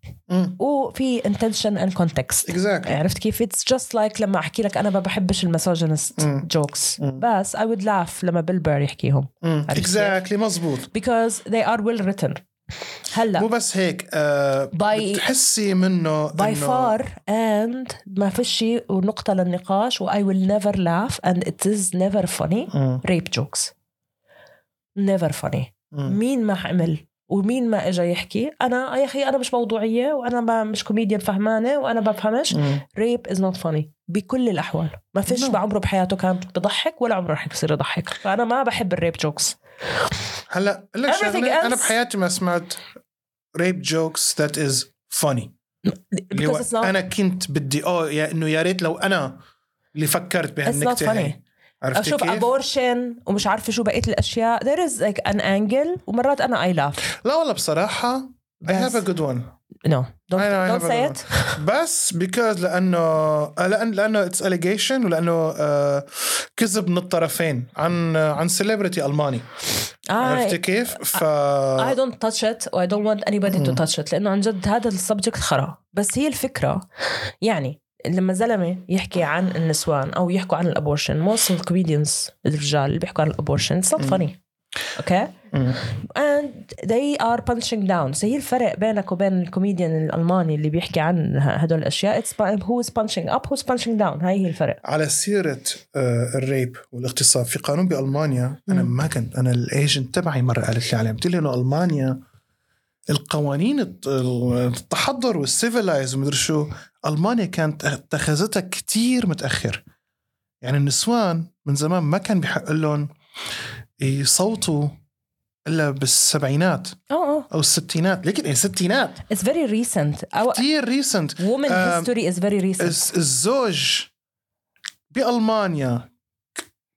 وفي انتنشن اند كونتكست
اكزاكتلي
عرفت كيف اتس جاست لايك لما احكي لك انا ما بحبش المسوجنست
مم.
جوكس
مم.
بس اي وود لاف لما بيل بير يحكيهم عرفت كيف؟
اكزاكتلي مزبوط
because they are well written
مو
هلا
بس هيك آه
By-
بتحسي منه
باي
إنه-
فار اند ما فيش شيء ونقطه للنقاش واي ويل نيفر لاف اند ات از نيفر فاني
مم.
ريب جوكس نيفر فاني
مم.
مين ما حمل ومين ما اجى يحكي انا يا اخي انا مش موضوعيه وانا ما مش كوميديان فهمانه وانا ما بفهمش
مم.
ريب از نوت فاني بكل الاحوال ما فيش
No.
بعمره بحياته كان بضحك ولا عمره رح يصير يضحك فانا ما بحب الريب جوكس
هلا أقول لك
Everything
شغله انا
else-
بحياتي ما سمعت ريب جوكس ذات از فاني اللي هو
because it's not
انا كنت بدي اه يا انه يا ريت لو انا اللي فكرت
it's not
بهالنكته
funny
هي عرفتي
اشوف
كيف؟
ابورشن ومش عارفه شو بقيه الاشياء there is like an angle ومرات انا اي لاف
لا والله بصراحه I have a good one
no don't,
I know, I
don't
have
say
a-
it
بس because لانه لأن لانه اتس allegation ولانه آه، كذب من الطرفين عن آه، عن سيلبرتي الماني عرفتي
I,
كيف؟ ف
I don't touch it و I don't want anybody
Hmm.
to touch it لأنه عن جد هذا السبجكت خرا بس هي الفكرة يعني لما زلمة يحكي عن النسوان أو يحكوا عن الأبورشن موست الكوميديانز الرجال اللي بيحكوا عن الأبورشن it's
Hmm.
not funny okay
مم.
and they are punching down so هي الفرق بينك وبين الكوميديان الألماني اللي بيحكي عن ه- هدول الأشياء it's by- who is punching up who is punching down هاي هي الفرق
على سيرة آه، الريب والاغتصاب في قانون بألمانيا أنا
مم.
ما كنت أنا الايجنت تبعي مرة قالت لي عليه قلت لي إنه ألمانيا القوانين الت- التحضر والسيفلايز ومدري شو ألمانيا كانت اتخذتها كتير متأخر يعني النسوان من زمان ما كان بحق لهم يصوتوا إلا بالسبعينات
اه اه
أو الستينات لكن الستينات
it's very recent Our
كتير ريسنت
woman
Um,
history is very recent
الز- الزوج بألمانيا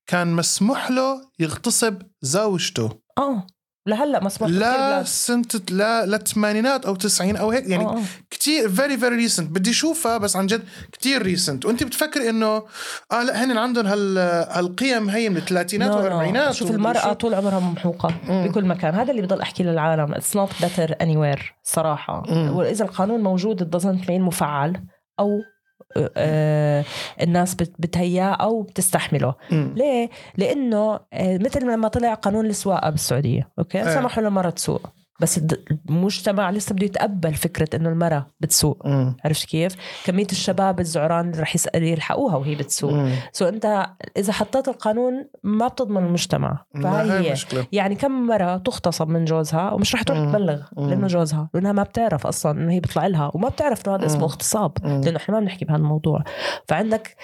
كان مسموح له يغتصب زوجته
اه لهلا مسموح بكتير
لا
بلاد.
سنة لا للثمانينات او تسعين او هيك يعني
آه، آه.
كتير فيري فيري ريسنت بدي اشوفها بس عن جد كتير ريسنت وانت بتفكر انه اه لا هن عندهم هال هالقيم هي من الثلاثينات
No, no.
والاربعينات
شوف
ومدري
المرأة
شو.
طول عمرها ممحوقة
مم.
بكل مكان هذا اللي بضل أحكي للعالم اتس نوت better anywhere صراحة
مم.
وإذا القانون موجود it doesn't mean مفعل أو آه، آه، الناس بت- بتهياه أو بتستحمله
مم.
ليه؟ لأنه آه، مثل لما طلع قانون السواقة بالسعودية أوكي
إيه.
سمحوا للمرأة تسوق بس الد- المجتمع لسه بده يتقبل فكرة إنه المرأة بتسوق
مم.
عرفت كيف؟ كمية الشباب الزعران اللي رح يسأل يلحقوها وهي بتسوق
مم.
سو انت اذا حطيت القانون ما بتضمن المجتمع فهي
ما هي إيه.
هي
مشكلة
يعني كم مرة تغتصب من جوزها ومش رح تروح
مم.
تبلغ
مم.
لانه جوزها لانها ما بتعرف اصلا انه هي بيطلع لها وما بتعرف انه هذا اسمه
مم.
اغتصاب
مم.
لانه احنا ما بنحكي بهذا الموضوع فعندك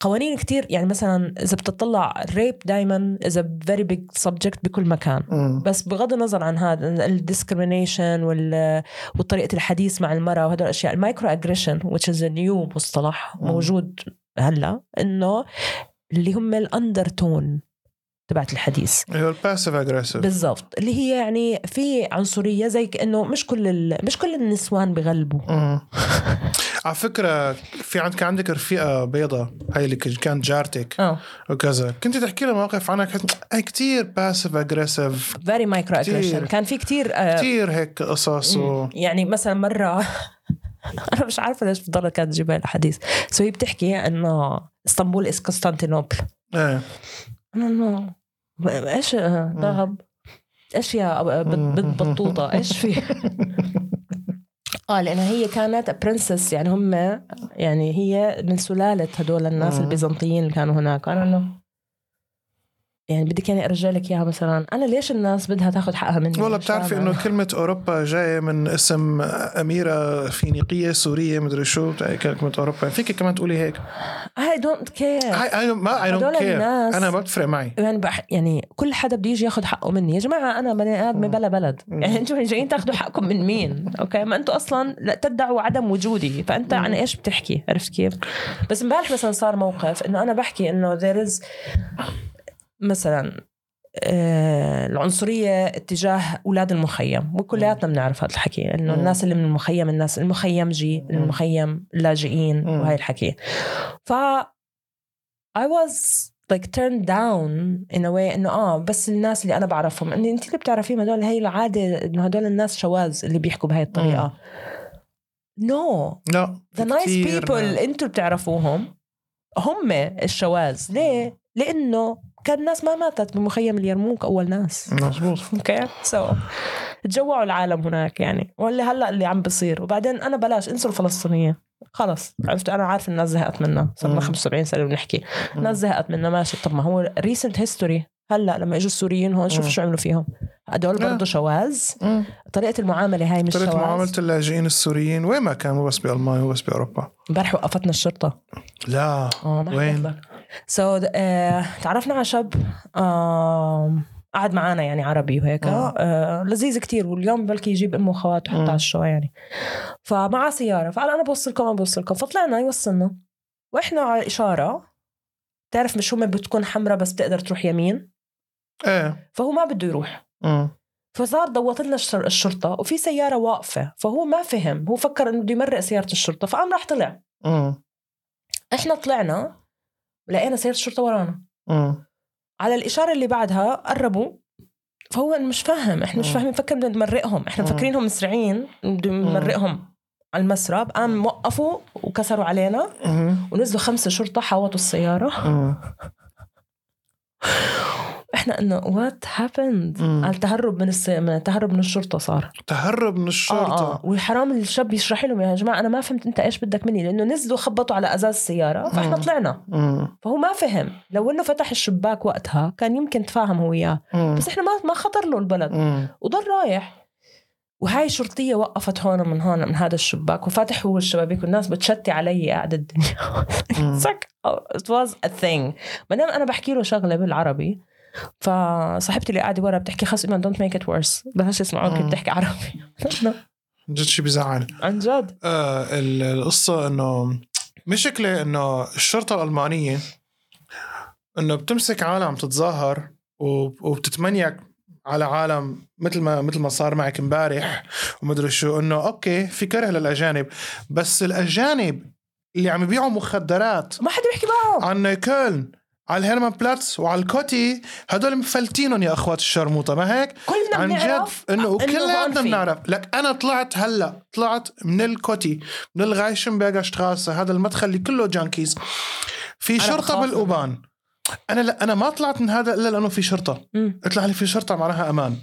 قوانين كتير يعني مثلا اذا بتطلع الريب دائما اذا فيري بيج سبجكت بكل مكان
مم.
بس بغض النظر عن هذا الديسكريميشن وال وطريقه الحديث مع المراه وهدول الاشياء المايكرو اجريشن which is a new مصطلح
مم.
موجود هلا انه اللي هم الاندرتون تبعت الحديث
ايوه الباسيف اجريسيف
بالضبط اللي هي يعني في عنصريه زي كانه مش كل ال... مش كل النسوان بغلبوا
مم. على فكرة في عندك عندك رفيقة بيضة هاي اللي كانت جارتك
اه
وكذا كنت تحكي لها مواقف عنها كنت هاي كتير باسف اجريسيف
فيري مايكرو
كتير.
اجريشن كان في كتير آه،
كتير هيك قصص و...
يعني مثلا مره انا مش عارفه ليش بتضل كانت تجيب هاي الاحاديث سو هي بتحكي انه اسطنبول از قسطنطينوبل
ايه
انا انه ب- ايش آه، ذهب ايش يا أب- آه، بنت بنت بطوطه ايش في اه لان هي كانت برنسس يعني هم يعني هي من سلاله هدول الناس
مم.
البيزنطيين اللي كانوا هناك انا انه يعني بدك يعني ارجع لك اياها مثلا انا ليش الناس بدها تاخذ حقها مني
والله
مش
بتعرفي
فاهمة.
انه كلمة اوروبا جاية من اسم اميرة فينيقية سورية مدري شو بتاعي كلمة اوروبا فيك كمان تقولي هيك
I don't care
I, I don't, ما I
إيه. هدول
don't care
الناس
انا ما بتفرق معي
يعني, بح... يعني كل حدا بده يجي ياخذ حقه مني يا جماعه انا بني ادمه بلا بلد
مم.
يعني انتم جايين تاخذوا حقكم من مين اوكي ما انتم اصلا لا تدعوا عدم وجودي فانت عن ايش بتحكي عرفت كيف بس امبارح مثلا صار موقف انه انا بحكي انه there is مثلا آه، العنصريه اتجاه اولاد المخيم وكلياتنا بنعرف هذا الحكي انه
مم.
الناس اللي من المخيم الناس المخيمجي
مم.
المخيم اللاجئين
مم.
وهي الحكي ف I was like turned down in a way انه اه بس الناس اللي انا بعرفهم اني انت اللي بتعرفيهم هدول هي العاده انه هدول الناس شواذ اللي بيحكوا بهاي الطريقه نو
لا
ذا نايس
كتير- آه.
بيبل انتوا بتعرفوهم هم الشواذ ليه؟ لانه كان الناس ما ماتت بمخيم اليرموك اول ناس
مزبوط
اوكي سو تجوعوا العالم هناك يعني ولا هلا اللي عم بصير وبعدين انا بلاش انسوا الفلسطينيه خلص عرفت انا عارف الناس زهقت منها صرنا
مم.
75 سنه بنحكي
مم.
الناس زهقت منها ماشي طب ما هو ريسنت هيستوري هلا لما اجوا السوريين هون شوف
مم.
شو عملوا فيهم هدول
آه.
برضه شواذ
مم.
طريقه المعامله هاي مش
طريقة معاملة
شواذ
اللاجئين السوريين وين ما كانوا بس بالمانيا وبس باوروبا
امبارح وقفتنا الشرطه
لا
اه ما
وين؟
وين؟ سو so, uh, تعرفنا على شاب آم، قعد معنا يعني عربي وهيك
آه.
آه. لذيذ كتير واليوم بلكي يجيب امه وخواته حتى
مم.
على الشو يعني فمعه سياره فقال انا بوصلكم انا بوصلكم فطلعنا يوصلنا واحنا على اشاره تعرف مش هم بتكون حمراء بس بتقدر تروح يمين
ايه
فهو ما بده يروح
مم.
فصار دوت لنا الشر- الشرطه وفي سياره واقفه فهو ما فهم هو فكر انه بده يمرق سياره الشرطه فقام راح طلع
مم.
احنا طلعنا لقينا سياره الشرطه ورانا
مم.
على الاشاره اللي بعدها قربوا فهو مش فاهم احنا مش
مم.
فاهمين فكر بدنا نمرقهم احنا
مم.
مفكرينهم مسرعين بدنا
مم.
نمرقهم على المسرب قام وقفوا وكسروا علينا
مم.
ونزلوا خمسه شرطه حاوطوا السياره
مم.
احنا انه وات هابند
مم.
قال تهرب من الس... من- تهرب من الشرطه صار
تهرب من
اه اه
الشرطة
والحرام الشاب يشرح لهم يا جماعه انا ما فهمت انت ايش بدك مني لانه نزلوا خبطوا على ازاز السياره فاحنا
مم.
طلعنا
مم.
فهو ما فهم لو انه فتح الشباك وقتها كان يمكن تفاهم هو وياه
مم.
بس احنا ما ما خطر له البلد
مم.
وضل رايح وهاي شرطية وقفت هون من هون من هذا الشباك وفاتح هو الشبابيك والناس بتشتي علي قاعدة الدنيا
مم.
سك it was a thing ما دام انا بحكي له شغلة بالعربي فصاحبتي اللي قاعدة ورا بتحكي خلص ايمان دونت ميك ات ورس بدهاش يسمعوك
مم.
بتحكي عربي
جد شي بزعل
عن جد
آه، ال- القصة انه مشكلة انه الشرطة الألمانية انه بتمسك عالم تتظاهر وب- وبتتمنيك على عالم مثل ما مثل ما صار معك امبارح ومدري شو انه اوكي في كره للاجانب بس الاجانب اللي عم يبيعوا مخدرات
ما حدا بيحكي معهم
عن كولن على الهيرمان بلاتس وعلى الكوتي هدول مفلتينهم يا اخوات الشرموطه ما هيك
كلنا
عن جد
بنعرف
انه
هون
وكلياتنا
في.
بنعرف لك انا طلعت هلا طلعت من الكوتي من الغايشنبرغ شتراسه هذا المدخل اللي كله جانكيز في شرطه
بخاف منه.
بالأوبان انا لا انا ما طلعت من هذا الا لانه في شرطه
مم.
اطلع لي في شرطه معناها امان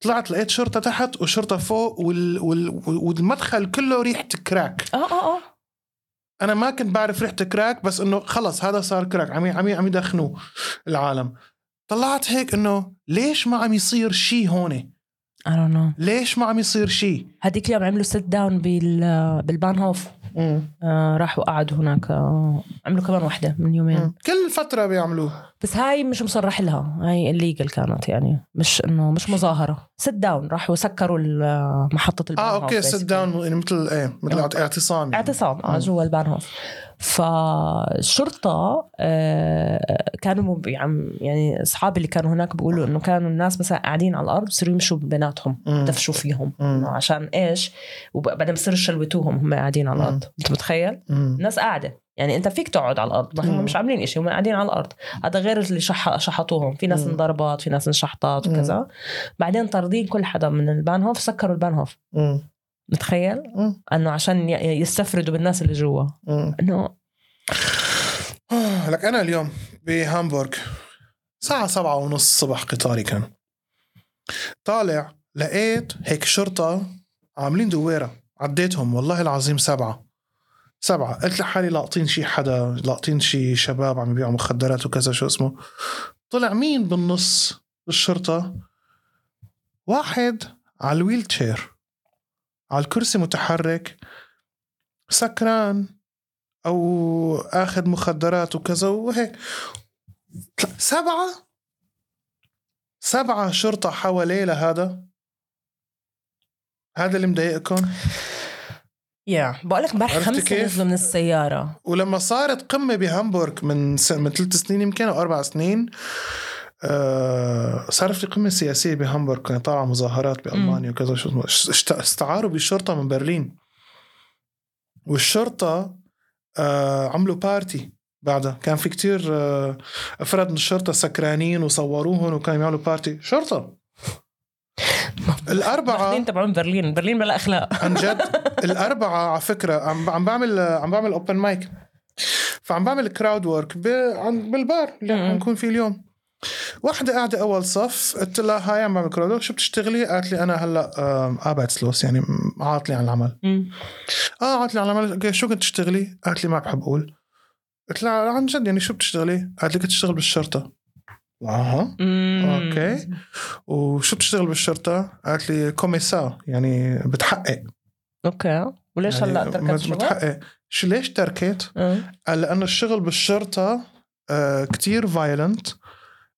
طلعت لقيت شرطه تحت وشرطه فوق وال... وال... والمدخل كله ريحه كراك
اه اه اه
انا ما كنت بعرف ريحه كراك بس انه خلص هذا صار كراك عم ي- عم ي- عم يدخنوه العالم طلعت هيك انه ليش ما عم يصير شيء هون
I don't know
ليش ما عم يصير شيء
هذيك اليوم عملوا سيت داون بال بالبانهوف آه، راحوا قعدوا هناك آه، عملوا كمان واحدة من يومين
كل فترة بيعملوه
بس هاي مش مصرح لها هاي الليجل كانت يعني مش انه مش مظاهرة سيت داون راحوا سكروا ال- محطة
اه
البانهوف
اوكي سيت
آه، basically.
داون يعني مثل ايه مثل
آه.
اعتصام يعني.
اعتصام آه،
مم.
جوا البانهوف فالشرطة آه، كانوا مب- عم- يعني اصحابي اللي كانوا هناك بيقولوا انه كانوا الناس مثلا قاعدين على الارض بصيروا يمشوا بيناتهم
مم.
دفشوا فيهم إنه
مم.
عشان ايش وبعدين بصيروا يشلوتوهم هم قاعدين على الارض انت متخيل
مم.
الناس قاعده يعني انت فيك تقعد على الارض ما هم
مم.
مش عاملين إشي هم قاعدين على الارض هذا غير اللي شح... شحطوهم في ناس
مم.
انضربت في ناس انشحطت
مم.
وكذا بعدين طاردين كل حدا من البانهوف سكروا البانهوف
مم.
متخيل
مم.
انه عشان ي- يستفردوا بالناس اللي جوا
مم.
انه
آه، لك انا اليوم بهامبورغ الساعة سبعة ونص الصبح قطاري كان طالع لقيت هيك شرطة عاملين دويرة عديتهم والله العظيم سبعة سبعة قلت لحالي لاقطين شي حدا لاقطين شي شباب عم يبيعوا مخدرات وكذا شو اسمه طلع مين بالنص الشرطة واحد على الويل تشير على الكرسي متحرك سكران او اخذ مخدرات وكذا وهيك طلع- سبعه سبعه شرطه حواليه لهذا هذا اللي مضايقكم
يا بقول لك امبارح
عرفتي
خمسه
كيف؟
نزلوا من السياره
ولما صارت قمه بهامبورغ من س... من ثلاث سنين يمكن او اربع سنين آه صار في قمه سياسيه بهامبورغ كانت طالعه مظاهرات بالمانيا وكذا شو اسمه اشت- استعاروا بالشرطه من برلين والشرطه آه عملوا بارتي بعدها كان في كتير آه افراد من الشرطه سكرانين وصوروهم وكانوا يعملوا بارتي شرطه الاربعه
مين تبعون برلين برلين بلا اخلاق
عن جد الاربعه على فكره عم عم بعمل عم بعمل اوبن مايك فعم بعمل كراود ورك بالبار اللي
مم.
عم نكون فيه اليوم واحدة قاعدة أول صف قلت لها هاي عم بعمل كراود ورك شو بتشتغلي؟ قالت لي أنا هلا آم، أباتسلوس يعني م- عاطلة عن العمل
مم.
اه قالت لي على العمل أوكي، شو كنت تشتغلي؟ قالت لي ما بحب أقول قلت لها عن جد يعني شو بتشتغلي؟ قالت لي كنت أشتغل بالشرطة اها أوكي. وشو بتشتغل بالشرطة؟ قالت لي كوميسار يعني بتحقق
اوكي وليش
يعني
هلا تركت
مت-
الشغل؟
متحقق شو ليش تركت؟
آه.
قال لأنه الشغل بالشرطة آه كتير فايلنت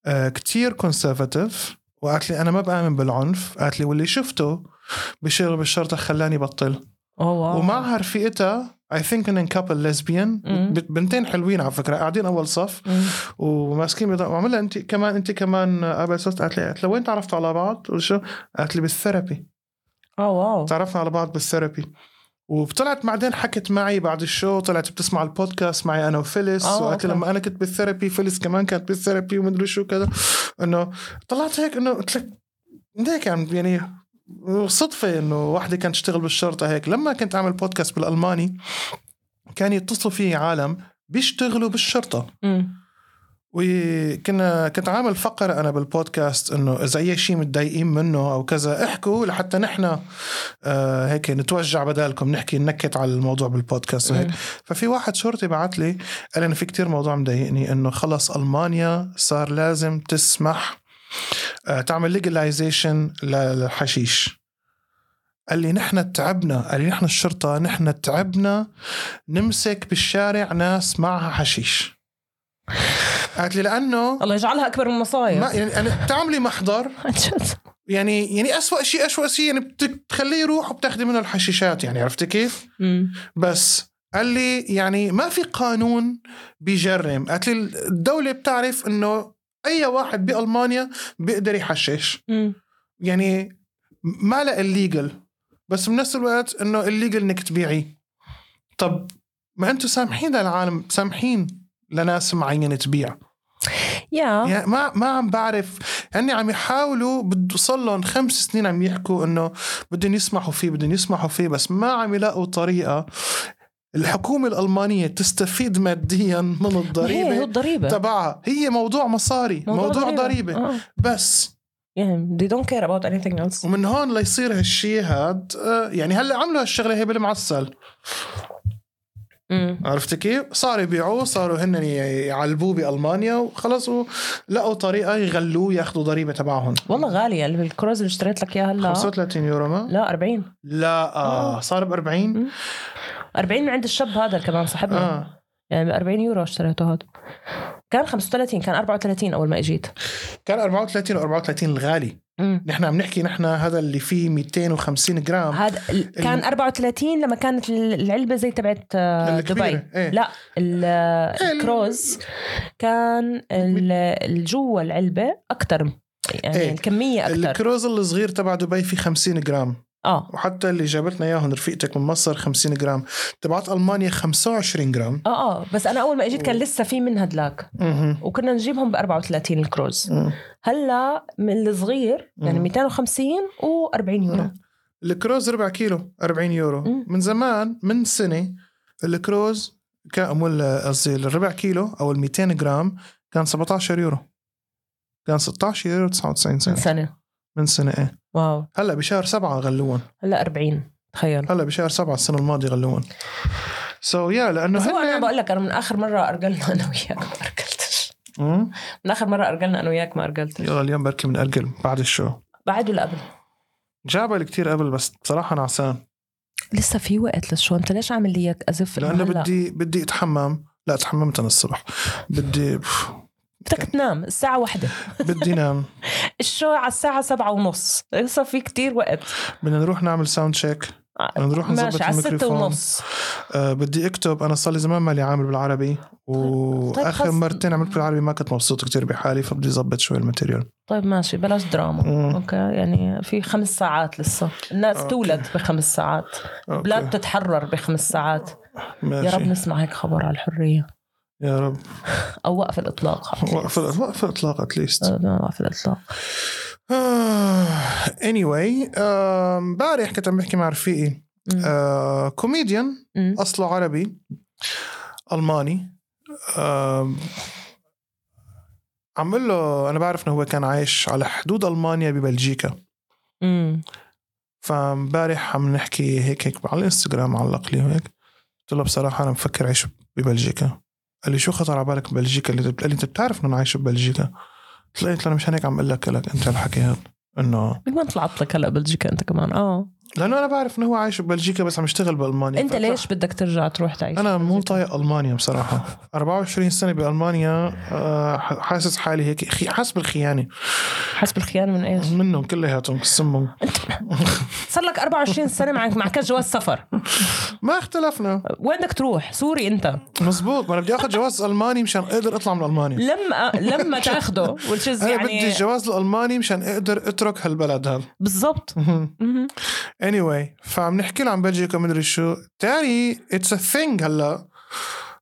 آه كتير كونسرفاتيف وقالت لي أنا ما بآمن بالعنف قالت لي واللي شفته بشغل بالشرطة خلاني بطل
اوه واو
ومعها رفيقتها اي ثينك ان كابل ليزبيان
مم.
بنتين حلوين على فكره قاعدين اول صف
مم.
وماسكين بيضاء وعملها انت كمان انت كمان قبل صرت قالت لي قالت لي وين تعرفتوا على بعض؟ وشو؟ قالت لي بالثيرابي
اه واو
تعرفنا على بعض بالثيرابي وطلعت بعدين حكت معي بعد الشو طلعت بتسمع البودكاست معي انا وفيلس
آه،
وقت
أوكي.
لما انا كنت بالثيرابي فيلس كمان كانت بالثيرابي ومدري شو كذا انه طلعت هيك انه قلت لك هيك عم- يعني صدفه انه وحده كانت تشتغل بالشرطه هيك لما كنت اعمل بودكاست بالالماني كان يتصلوا فيه عالم بيشتغلوا بالشرطه
مم.
وكنا كنت عامل فقرة أنا بالبودكاست إنه إذا أي شيء متضايقين منه أو كذا احكوا لحتى نحن آه هيك نتوجع بدالكم نحكي ننكت على الموضوع بالبودكاست وهيك
مم.
ففي واحد شرطي بعت لي قال أنا في كتير موضوع مضايقني إنه خلص ألمانيا صار لازم تسمح آه تعمل ليجلايزيشن للحشيش قال لي نحن تعبنا قال لي نحن الشرطة نحن تعبنا نمسك بالشارع ناس معها حشيش قالت لي لأنه
الله يجعلها اكبر من المصايب
ما يعني انا بتعملي محضر
عن جد
يعني يعني اسوء شيء اسوء شيء يعني بتخليه يروح وبتاخذي منه الحشيشات يعني عرفتي كيف؟
مم.
بس قال لي يعني ما في قانون بيجرم قالت لي الدولة بتعرف انه اي واحد بالمانيا بيقدر يحشش
مم.
يعني ما لا الليجل بس بنفس الوقت انه الليجل انك تبيعي طب ما انتم سامحين للعالم سامحين لناس معينه تبيع
يا
يعني ما ما عم بعرف هني عم يحاولوا بده صار لهم خمس سنين عم يحكوا انه بدهم يسمحوا فيه بدهم يسمحوا فيه بس ما عم يلاقوا طريقه الحكومه الالمانيه تستفيد ماديا من
هي هو
الضريبه
الضريبه
تبعها هي موضوع مصاري موضوع, موضوع ضريبه
آه.
بس
يعني they don't care about anything else
ومن هون ليصير هالشي هاد آه، يعني هلا عملوا هالشغله هي بالمعسل
مم.
عرفت كيف صاروا يبيعوه صاروا هن يعلبوه بالمانيا وخلص لقوا طريقه يغلوه ياخذوا ضريبه تبعهم
والله غالية الكروز اللي اشتريت لك اياها هلا
35 يورو ما؟
لا 40
لا آه. صار ب 40
مم. 40 من عند الشاب هذا اللي كمان صاحبنا آه.
اه
يعني ب 40 يورو اشتريته هذا كان 35 كان 34 اول ما اجيت
كان 34 و34 الغالي نحن عم نحكي نحن هذا اللي فيه 250 جرام
هذا ال- كان 34 لما كانت ال- العلبة زي تبعت آه،
الكبيرة،
دبي
إيه.
لا ال-
ال-
الكروز كان الجوا العلبة اكثر يعني
إيه.
الكمية اكثر
الكروز الصغير تبع دبي فيه 50 جرام
اه
وحتى اللي جابتنا اياهم رفيقتك من مصر 50 جرام تبعت المانيا 25 جرام
اه اه بس انا اول ما اجيت كان لسه في من هدلاك
مهم.
وكنا نجيبهم ب 34 الكروز
مم.
هلا من الصغير يعني
مم.
250 و40 يورو
مم. الكروز ربع كيلو 40 يورو
نعم. مم.
من زمان من سنه الكروز كان ولا قصدي الربع كيلو او ال 200 جرام كان 17 يورو كان 16 يورو 99
من
سنه
سنه
من سنه ايه
واو
هلا بشهر سبعة غلوهم
هلا 40 تخيل
هلا بشهر سبعة السنه الماضيه غلوهم سو so, يا yeah, لانه
بس هو انا
هن
بقول لك انا من اخر مره ارجلنا انا وياك ما ارجلتش
مم.
من اخر مره ارجلنا انا وياك ما ارجلتش
يلا اليوم بركي بنأجل بعد الشو
بعد ولا قبل
جابل كتير قبل بس بصراحه نعسان
لسه في وقت للشو انت ليش عامل لي اياك ازف إنه
لانه
هلأ؟
بدي بدي اتحمم لا تحممت انا الصبح بدي
بدك تنام الساعه واحدة
بدي نام
الشو على الساعه سبعة ونص لسه في كتير وقت
بدنا نروح نعمل ساوند تشيك بدنا نروح نظبط
آه، ماشي على الستة
الميكروفون
ونص
آه بدي اكتب انا صار لي زمان مالي عامل بالعربي واخر
طيب، خلص.
مرتين عملت بالعربي ما كنت مبسوط كتير بحالي فبدي اظبط شوي الماتيريال
طيب ماشي بلاش دراما
مم.
اوكي يعني في خمس ساعات لسه الناس
أوكي.
تولد بخمس ساعات
أوكي.
بلاد تتحرر بخمس ساعات يا رب
ماشي
نسمع هيك خبر على الحريه
يا رب
او وقف الاطلاق
وقف وقف اطلاق اتليست
آه، وقف الاطلاق آه.
اني واي امبارح كنت عم بحكي مع رفيقي
مم.
آه، كوميديان
مم.
اصله عربي الماني آم، عم بقول له انا بعرف انه هو كان عايش على حدود المانيا ببلجيكا
مم.
فامبارح عم نحكي هيك هيك على الانستغرام علق لي هيك قلت له بصراحه انا مفكر عيش ببلجيكا قال لي شو خطر على بالك ببلجيكا اللي قال لي انت بتعرف انه انا عايش ببلجيكا قلت له قلت له انا مشان هيك عم بقول لك لك انت الحكي هذا انه
من وين طلعت لك هلا بلجيكا انت كمان اه
لانه انا بعرف انه هو عايش ببلجيكا بس عم يشتغل بالمانيا
انت
فقلت له
ليش بدك ترجع تروح تعيش
انا مو
ببلجيكا؟
طايق المانيا بصراحه 24 سنه بالمانيا آه، حاسس حالي هيك خي- حاسس بالخيانه
حسب الخيانه من ايش
منهم كلياتهم سمهم
صار لك 24 سنه معك معك جواز سفر
ما اختلفنا
وين بدك تروح سوري انت
مزبوط ما انا بدي اخذ جواز الماني مشان اقدر اطلع من المانيا
لما لما تاخده which is
انا بدي
يعني
الجواز الالماني مشان اقدر اترك هالبلد هذا
بالضبط مهم.
anyway فعم نحكي له عن بلجيكا مدري شو تاري اتس ا ثينج هلا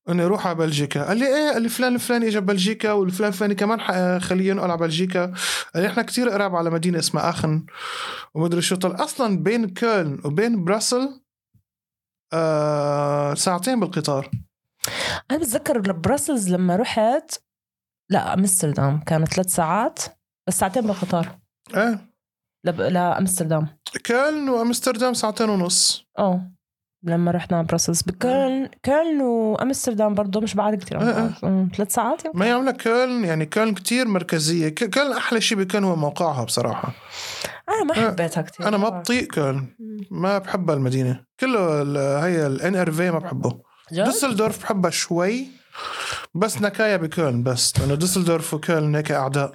انه يروح على بلجيكا قال لي ايه قال لي فلان الفلاني اجى بلجيكا والفلان الفلاني كمان ح- خليه ينقل على بلجيكا قال لي احنا كتير قراب على مدينه اسمها اخن ومدري شو طلع اصلا بين كولن وبين براسل آه ساعتين بالقطار
انا بتذكر براسلز لما رحت لا امستردام كانت ثلاث ساعات بس ساعتين بالقطار
ايه
لب... لامستردام
كولن وامستردام ساعتين ونص
اه لما رحنا على براسلز
أه.
بكولن كولن وامستردام برضه مش بعد كثير
آه، آه.
ثلاث ساعات يمكن
ما يعمل كولن يعني كولن كتير مركزيه ك- كولن احلى شيء بكولن هو موقعها بصراحه
انا ما
آه.
حبيتها كثير
انا ما بطيق كولن ما بحب المدينة كله ال- هي الان ار في ما بحبه دوسلدورف بحبها شوي بس نكايا بكولن بس لانه دوسلدورف وكولن هيك اعداء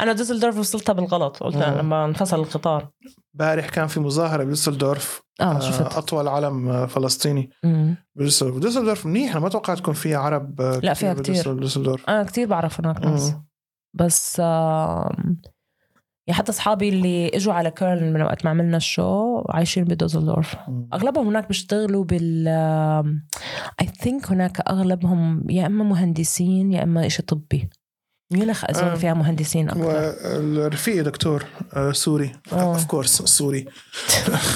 انا دوسلدورف وصلتها بالغلط قلت
آه.
لما انفصل القطار
بارح كان في مظاهرة بدوسلدورف
اه
آه،
شفت
اطول علم آه، فلسطيني
مم.
بدوسلدورف دوسلدورف منيح انا ما توقعت تكون فيها عرب آه،
لا، فيها كتير.
بدوسل- بدوسلدورف
انا كثير بعرف هناك ناس
مم.
بس آم، يعني حتى اصحابي اللي اجوا على كيرن من وقت ما عملنا الشو عايشين بدوزلدورف
مم.
اغلبهم هناك بيشتغلوا بال اي ثينك هناك اغلبهم يا اما مهندسين يا اما شيء طبي ميونخ اظن
آه.
فيها مهندسين اكثر
والرفيق دكتور آه، سوري
آه.
اوف كورس سوري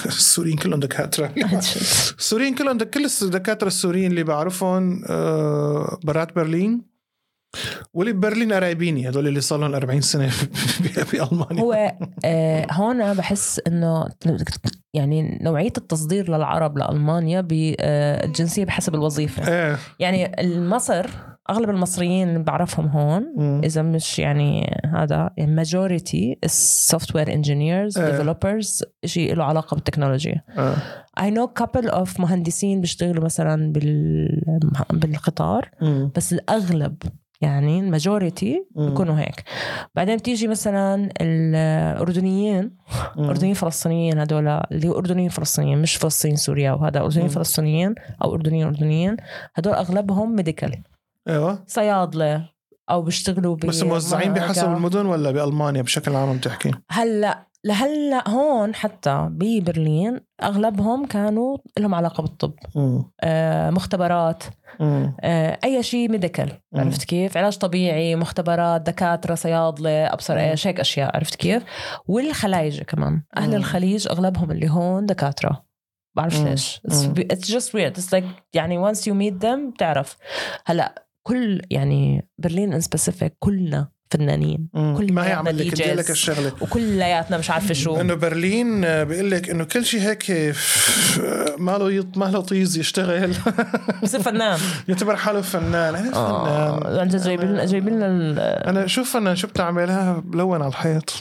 السوريين كلهم دكاتره السوريين كلهم دك- كل الدكاتره السوريين اللي بعرفهم آه، برات برلين واللي ببرلين قرايبيني هدول اللي صار لهم 40 سنه ب- بالمانيا
هو آه، هون بحس انه يعني نوعيه التصدير للعرب لالمانيا بالجنسيه بحسب الوظيفه
ايه
يعني مصر اغلب المصريين اللي بعرفهم هون
مم.
اذا مش يعني هذا ماجوريتي السوفت وير انجينيرز
إيه.
ديفلوبرز شيء له علاقه بالتكنولوجيا
آه.
اي نو كابل اوف مهندسين بيشتغلوا مثلا بال بالقطار
مم.
بس الاغلب يعني الماجوريتي
مم.
إيه. بيكونوا هيك بعدين بتيجي آه، مثلا الاردنيين
مم.
اردنيين فلسطينيين هدول اللي اردنيين فلسطينيين مش فلسطين سوريا وهذا اردنيين
مم.
فلسطينيين او اردنيين اردنيين هدول اغلبهم ميديكال
ايوه
صيادله او بيشتغلوا ب-
بس الموزعين بحسب المدن ولا بالمانيا بشكل عام عم تحكي؟
هلا لهلا هون حتى ببرلين اغلبهم كانوا لهم علاقه بالطب
مم.
آه، مختبرات
مم.
آه، اي شيء ميديكال
مم.
عرفت كيف علاج طبيعي مختبرات دكاتره صيادله ابصر ايش هيك اشياء عرفت كيف والخلايجه كمان اهل
مم.
الخليج اغلبهم اللي هون دكاتره بعرفش
مم.
ليش It's-
مم.
it's just weird it's like يعني once you meet them بتعرف هلا كل يعني برلين ان سبيسيفيك كلنا فنانين
مم.
كل
ما هي عمل لك بدي لك
DJs.
الشغله
وكلياتنا مش عارفه شو
انه برلين آه، بيقول لك انه كل شيء هيك ماله يط... ماله طيز يشتغل
بصير فنان
يعتبر حاله فنان انا فنان
آه، عن جد جايبين لنا جايبين لنا ال-
انا شوف انا شو بتعملها بلون على الحيط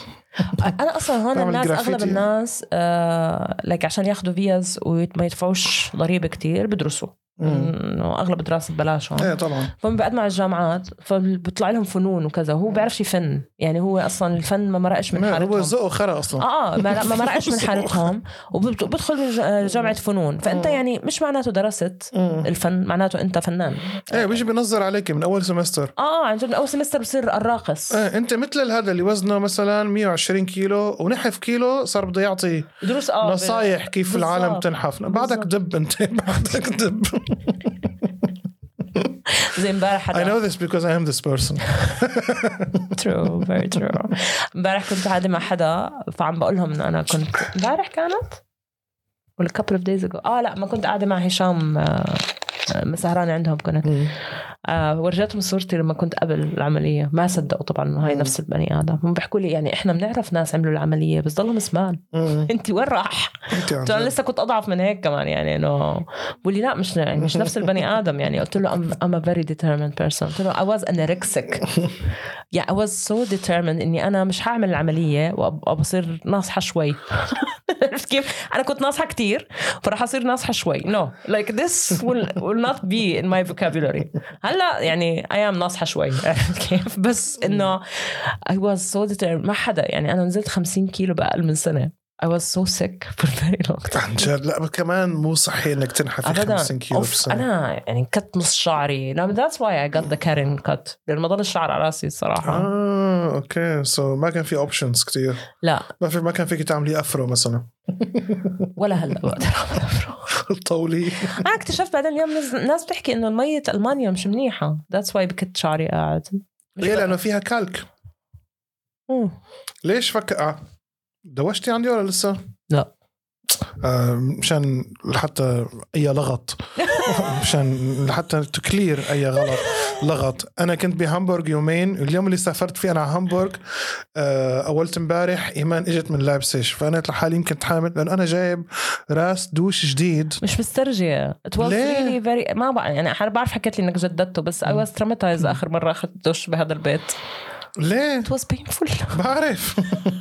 انا اصلا هون
بعمل
الناس اغلب
جرافيتي.
الناس آه لك عشان ياخذوا فيز وما يدفعوش ضريبه كتير بدرسوا
مم.
انه اغلب الدراسه ببلاش هون
ايه طبعا
فهم بيقدموا على الجامعات فبيطلع لهم فنون وكذا هو بيعرفش يفن يعني هو اصلا الفن ما مرقش من
ما هو
حالتهم
ذوقه خرا اصلا
اه اه ما ما مرقش من حالتهم وبدخل جامعه فنون فانت يعني مش معناته درست
مم.
الفن معناته انت فنان
ايه بيجي بينظر عليك من اول سمستر
اه آه، عن جد من اول سمستر بصير الراقص
ايه انت مثل هذا اللي وزنه مثلا 120 كيلو ونحف كيلو صار بده يعطي
دروس اه
نصايح كيف
بالظبط.
العالم تنحف بعدك دب انت بعدك دب
زي امبارح
I
حدا
know this because I am this person
ترو فيري ترو امبارح كنت قاعده مع حدا فعم بقول لهم انه انا كنت امبارح كانت ولا كابل اوف دايز ago اه لا ما كنت قاعده مع هشام آه، آه، سهرانه عندهم كنت آه ورجتهم صورتي لما كنت قبل العمليه ما صدقوا طبعا انه هاي نفس البني ادم هم بيحكوا لي يعني احنا بنعرف ناس عملوا العمليه بس ضلهم سمان
مم.
انت وين راح؟
انت عن
قلت له انا
جد.
لسه كنت اضعف من هيك كمان يعني انه بقول لي لا مش يعني مش نفس البني ادم يعني قلت له I'm, I'm a very determined person قلت له I was anorexic yeah I was so determined اني انا مش هعمل العمليه وأب- وبصير ناصحه شوي عرفت كيف؟ انا كنت ناصحه كتير فراح اصير ناصحه شوي no like this will, will not be in my vocabulary هلا يعني I am ناصحه شوي عرفت كيف؟ بس انه I was so determined ما حدا يعني انا نزلت 50 كيلو باقل من سنه I was so sick for very long time
عن جد لا كمان مو صحي انك تنحف 50 كيلو
أوف،
بالسنه
انا يعني كت نص شعري no, that's why I got the Karen cut لانه ما ضل الشعر على راسي الصراحه
اه اوكي سو ما كان في اوبشنز كتير
لا
ما في ما كان فيك تعملي افرو مثلا
ولا هلا بقدر أعمل أفرو.
طولي
انا اكتشفت بعدين اليوم ناس- ناس بتحكي انه المية المانيا مش منيحه that's why بكت شعري قاعد مش
ليه
بقى-
لانه فيها كالك
مم.
ليش فك آه، دوشتي عندي ولا لسه؟
لا.
آه، مشان حتى اي لغط مشان حتى تكلير اي غلط لغط انا كنت بهامبورغ يومين اليوم اللي سافرت فيه انا على هامبورغ آه، اولت امبارح ايمان اجت من لابسش فانا لحالي يمكن حامل لانه انا جايب راس دوش جديد
مش مسترجية it was
ليه؟
really very ما بقى يعني انا بعرف حكيت لي انك جددته بس I was traumatized اخر مرة اخذت دش بهذا البيت
ليه؟
it was painful
بعرف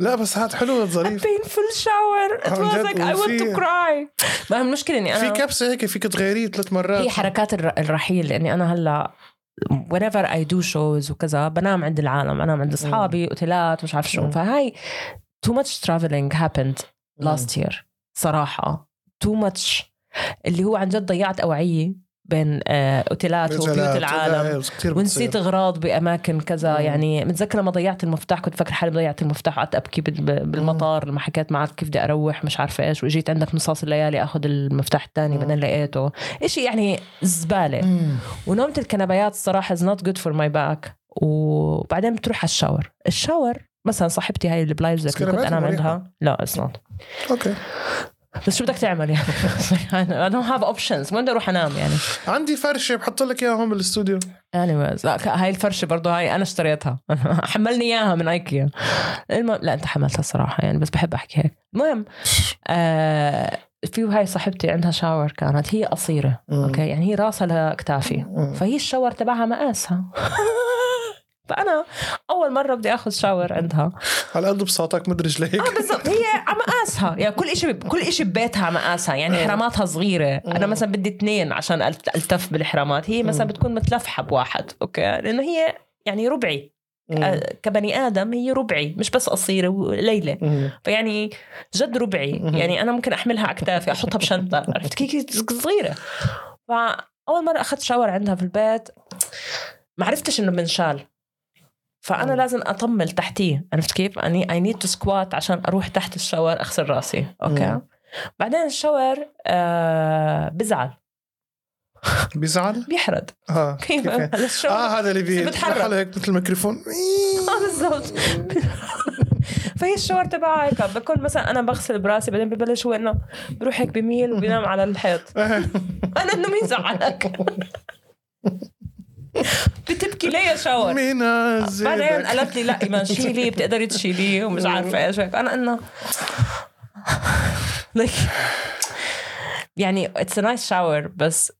لا بس هاد حلو
a
ظريف
painful shower it
عن
was
طيب. جد،
like I want to
وفي-
cry ما هي المشكلة اني
في
انا
كبسه هيك فيك تغيريه ثلاث مرات
هي حركات الر- الرحيل لاني انا هلا whenever I do shows وكذا بنام عند العالم بنام عند اصحابي اوتيلات مش عارف شو
مم.
فهاي too much traveling happened
مم.
last year صراحة too much اللي هو عن جد ضيعت أوعية بين آه، اوتيلات وبيوت
مثلاً،
العالم
لا، كتير
ونسيت
بتصير.
اغراض باماكن كذا
مم.
يعني متذكره ما ضيعت المفتاح كنت فاكره حالي ضيعت المفتاح قعدت ابكي بال- بالمطار لما حكيت معك كيف بدي اروح مش عارفه ايش واجيت عندك نصاص الليالي اخذ المفتاح الثاني
مم.
بعدين لقيته شيء يعني زباله
مم.
ونومه الكنبايات الصراحه از نوت جود فور ماي باك وبعدين بتروح على الشاور الشاور مثلا صاحبتي هاي اللي بلايفز اللي كنت
سكرابات
انام
مريحة.
عندها لا اتس نوت
اوكي
بس شو بدك تعمل يعني I don't have options وين بدي اروح انام يعني
عندي فرشه بحط لك اياها هون بالاستوديو
anyways لا ك- هاي الفرشه برضو هاي انا اشتريتها حملني اياها من ايكيا المهم لا انت حملتها صراحه يعني بس بحب احكي هيك المهم آه في هاي صاحبتي عندها شاور كانت هي قصيره
مم.
اوكي يعني هي راسها لاكتافي
مم.
فهي الشاور تبعها مقاسها فانا اول مره بدي اخذ شاور عندها
على قد بساطك مد رجليك
اه بالضبط هي على مقاسها يعني كل شيء كل شيء ببيتها على مقاسها يعني حراماتها صغيره انا مثلا بدي اثنين عشان ألت- التف بالحرامات هي مثلا بتكون متلفحه بواحد اوكي لانه هي يعني ربعي
إيه.
مم.
آه، كبني ادم هي ربعي مش بس قصيره وليله
مم.
فيعني يعني جد ربعي يعني انا ممكن احملها على كتافي احطها بشنطه عرفت كيف صغيره فاول مره اخذت شاور عندها في البيت ما عرفتش انه بنشال فانا
آه.
لازم اطمل تحتيه عرفت كيف؟ اني اي نيد تو سكوات عشان اروح تحت الشاور اغسل راسي اوكي
مم.
بعدين الشاور آه بزعل
بيزعل؟
بيحرد
اه
كيف
كيف يعني؟
هلا الشاور
اه هذا اللي بي
بتحرك.
بحاله هيك مثل الميكروفون
آه، بالضبط فهي الشاور تبعها هيك بكون مثلا انا بغسل براسي بعدين ببلش هو انه بروح هيك بميل وبينام على الحيط انا انه مين زعلك بتبكي ليه يا شاور
مين
بعدين
بعدين
قالت لي لا ايمان شيلي بتقدري تشيليه ومش عارفه ايش هيك انا انه like يعني اتس نايس شاور بس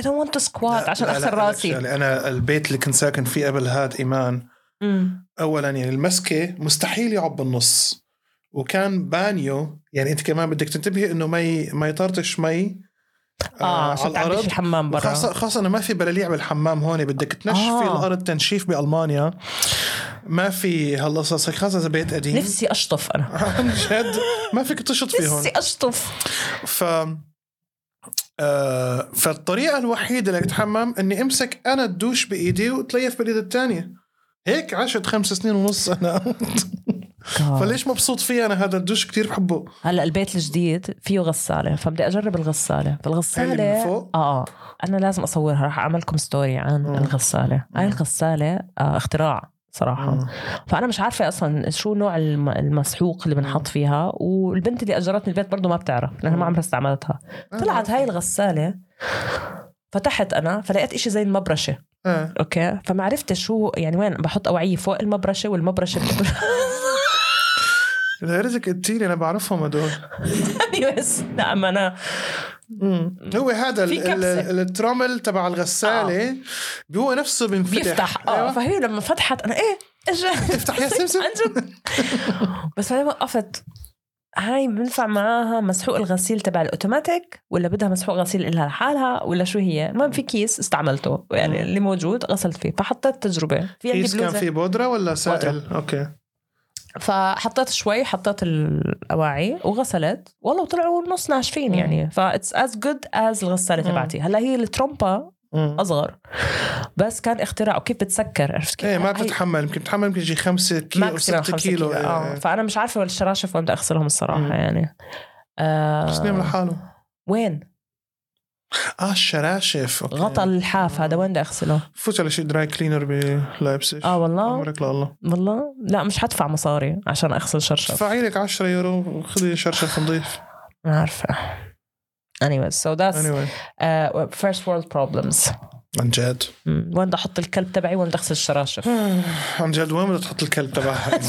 I don't want to squat عشان اغسل راسي
انا البيت اللي كنت ساكن فيه قبل هاد ايمان
أمم.
اولا يعني المسكه مستحيل يعب بالنص وكان بانيو يعني انت كمان بدك تنتبهي انه مي ما يطرطش مي
اه عشان تعبش الحمام برا
آه، خاصة خاصة انه ما في بلاليع بالحمام هون بدك تنشفي
آه.
آه. الارض تنشيف بالمانيا ما في هالقصص هيك، خاصة اذا بيت قديم
نفسي اشطف انا
عن جد ما فيك تشط فيه هون
نفسي اشطف
ف آه، فالطريقة الوحيدة اللي اتحمم اني امسك انا الدوش بايدي وتليف بالايد الثانية هيك عشت خمس سنين ونص انا فليش مبسوط فيه انا هذا الدوش كتير بحبه
هلا البيت الجديد فيه غساله فبدي اجرب الغساله
هاي اللي
فالغساله
من فوق؟ آه.
اه انا لازم اصورها راح اعمل لكم ستوري عن
مم.
الغساله هاي
مم.
الغساله آه اختراع صراحه
مم.
فانا مش عارفه اصلا شو نوع الم- المسحوق اللي
آه.
بنحط فيها والبنت اللي اجرتني البيت برضو ما بتعرف لانها ما عمرها استعملتها
آه،
طلعت هاي الغساله فتحت انا فلقيت إشي زي المبرشه
آه.
اوكي فما عرفت شو يعني وين بحط اوعيه فوق المبرشه والمبرشه بتبر-
الهرزك التيلي انا بعرفهم هدول
يس نعم انا
هو هذا
في
ال- ال-
كبسة. آه.
ال- الترامل تبع الغسالة هو نفسه بينفتح
بيفتح اه
أيوة.
فهي لما فتحت انا ايه اجا
افتح يا سمسم
عن جد بس بعدين وقفت هاي بنفع معاها مسحوق الغسيل تبع الاوتوماتيك ولا بدها مسحوق غسيل إلها لحالها ولا شو هي المهم في كيس استعملته يعني اللي موجود غسلت فيه فحطيت تجربة في عندي
كيس كان
بلوزة
فيه بودرة ولا سائل اوكي
فحطيت شوي حطيت الاواعي وغسلت والله وطلعوا نص ناشفين
مم.
يعني فاتس از جود از الغسالة
مم.
تبعتي هلا هي الترومبا
مم.
اصغر بس كان اختراع وكيف بتسكر عرفت كيف
ايه ما
هي-
بتتحمل يمكن بتتحمل يمكن شي 5 كيلو او
ماكسيمم
6
5
كيلو
كيلو اه
إيه.
فانا مش عارفه وين الشراشف وين بدي اغسلهم الصراحه
مم.
يعني
بس نام
آه
لحاله
وين
اه الشراشف أوكي.
غطى الحاف هذا وين بدي اغسله
فوت على شي دراي كلينر بلايبسج
اه والله
عمرك لله
والله لا مش حدفع مصاري عشان اغسل شرشف
دفعي لك 10 يورو وخذي شرشف نظيف
ما عارفه anyways so that's
anyway
uh, first world problems
عن جد
مم. وين بدي احط الكلب تبعي وين بدي اغسل الشراشف
عن جد وين بدها تحط الكلب تبعها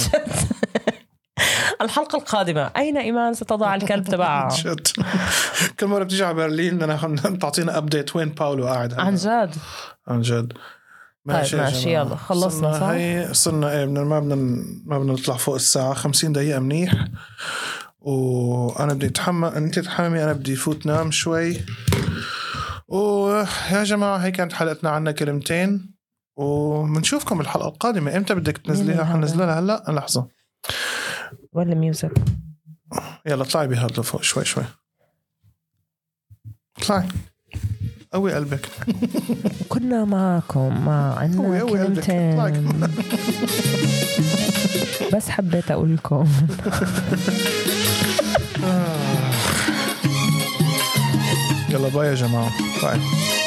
الحلقه القادمه اين ايمان ستضع الكلب تبعها
عن جد كل مره بتيجي على برلين بدنا ناخد- تعطينا ابديت وين باولو قاعد هلا.
عن جد
عن جد
طيب،
يا
ماشي،
جماعة.
يلا، خلصنا،
صرنا
صح؟
هي صرنا ايه بدنا ما بدنا ما بدنا نطلع فوق الساعة 50 دقيقة منيح وانا بدي اتحمى انت تتحممي انا بدي فوت نام شوي ويا جماعة هي كانت حلقتنا عنا كلمتين وبنشوفكم بالحلقة القادمة امتى بدك
مين
تنزليها
هذا؟
حنزلها هلا لحظة
وين الميوزك
يلا اطلعي بهذا لفوق شوي شوي اطلعي قوي قلبك
كنا معكم مع
قوي
عنا
قوي قلبك اطلعي
كلمتين بس حبيت اقول لكم
يلا باي يا جماعة باي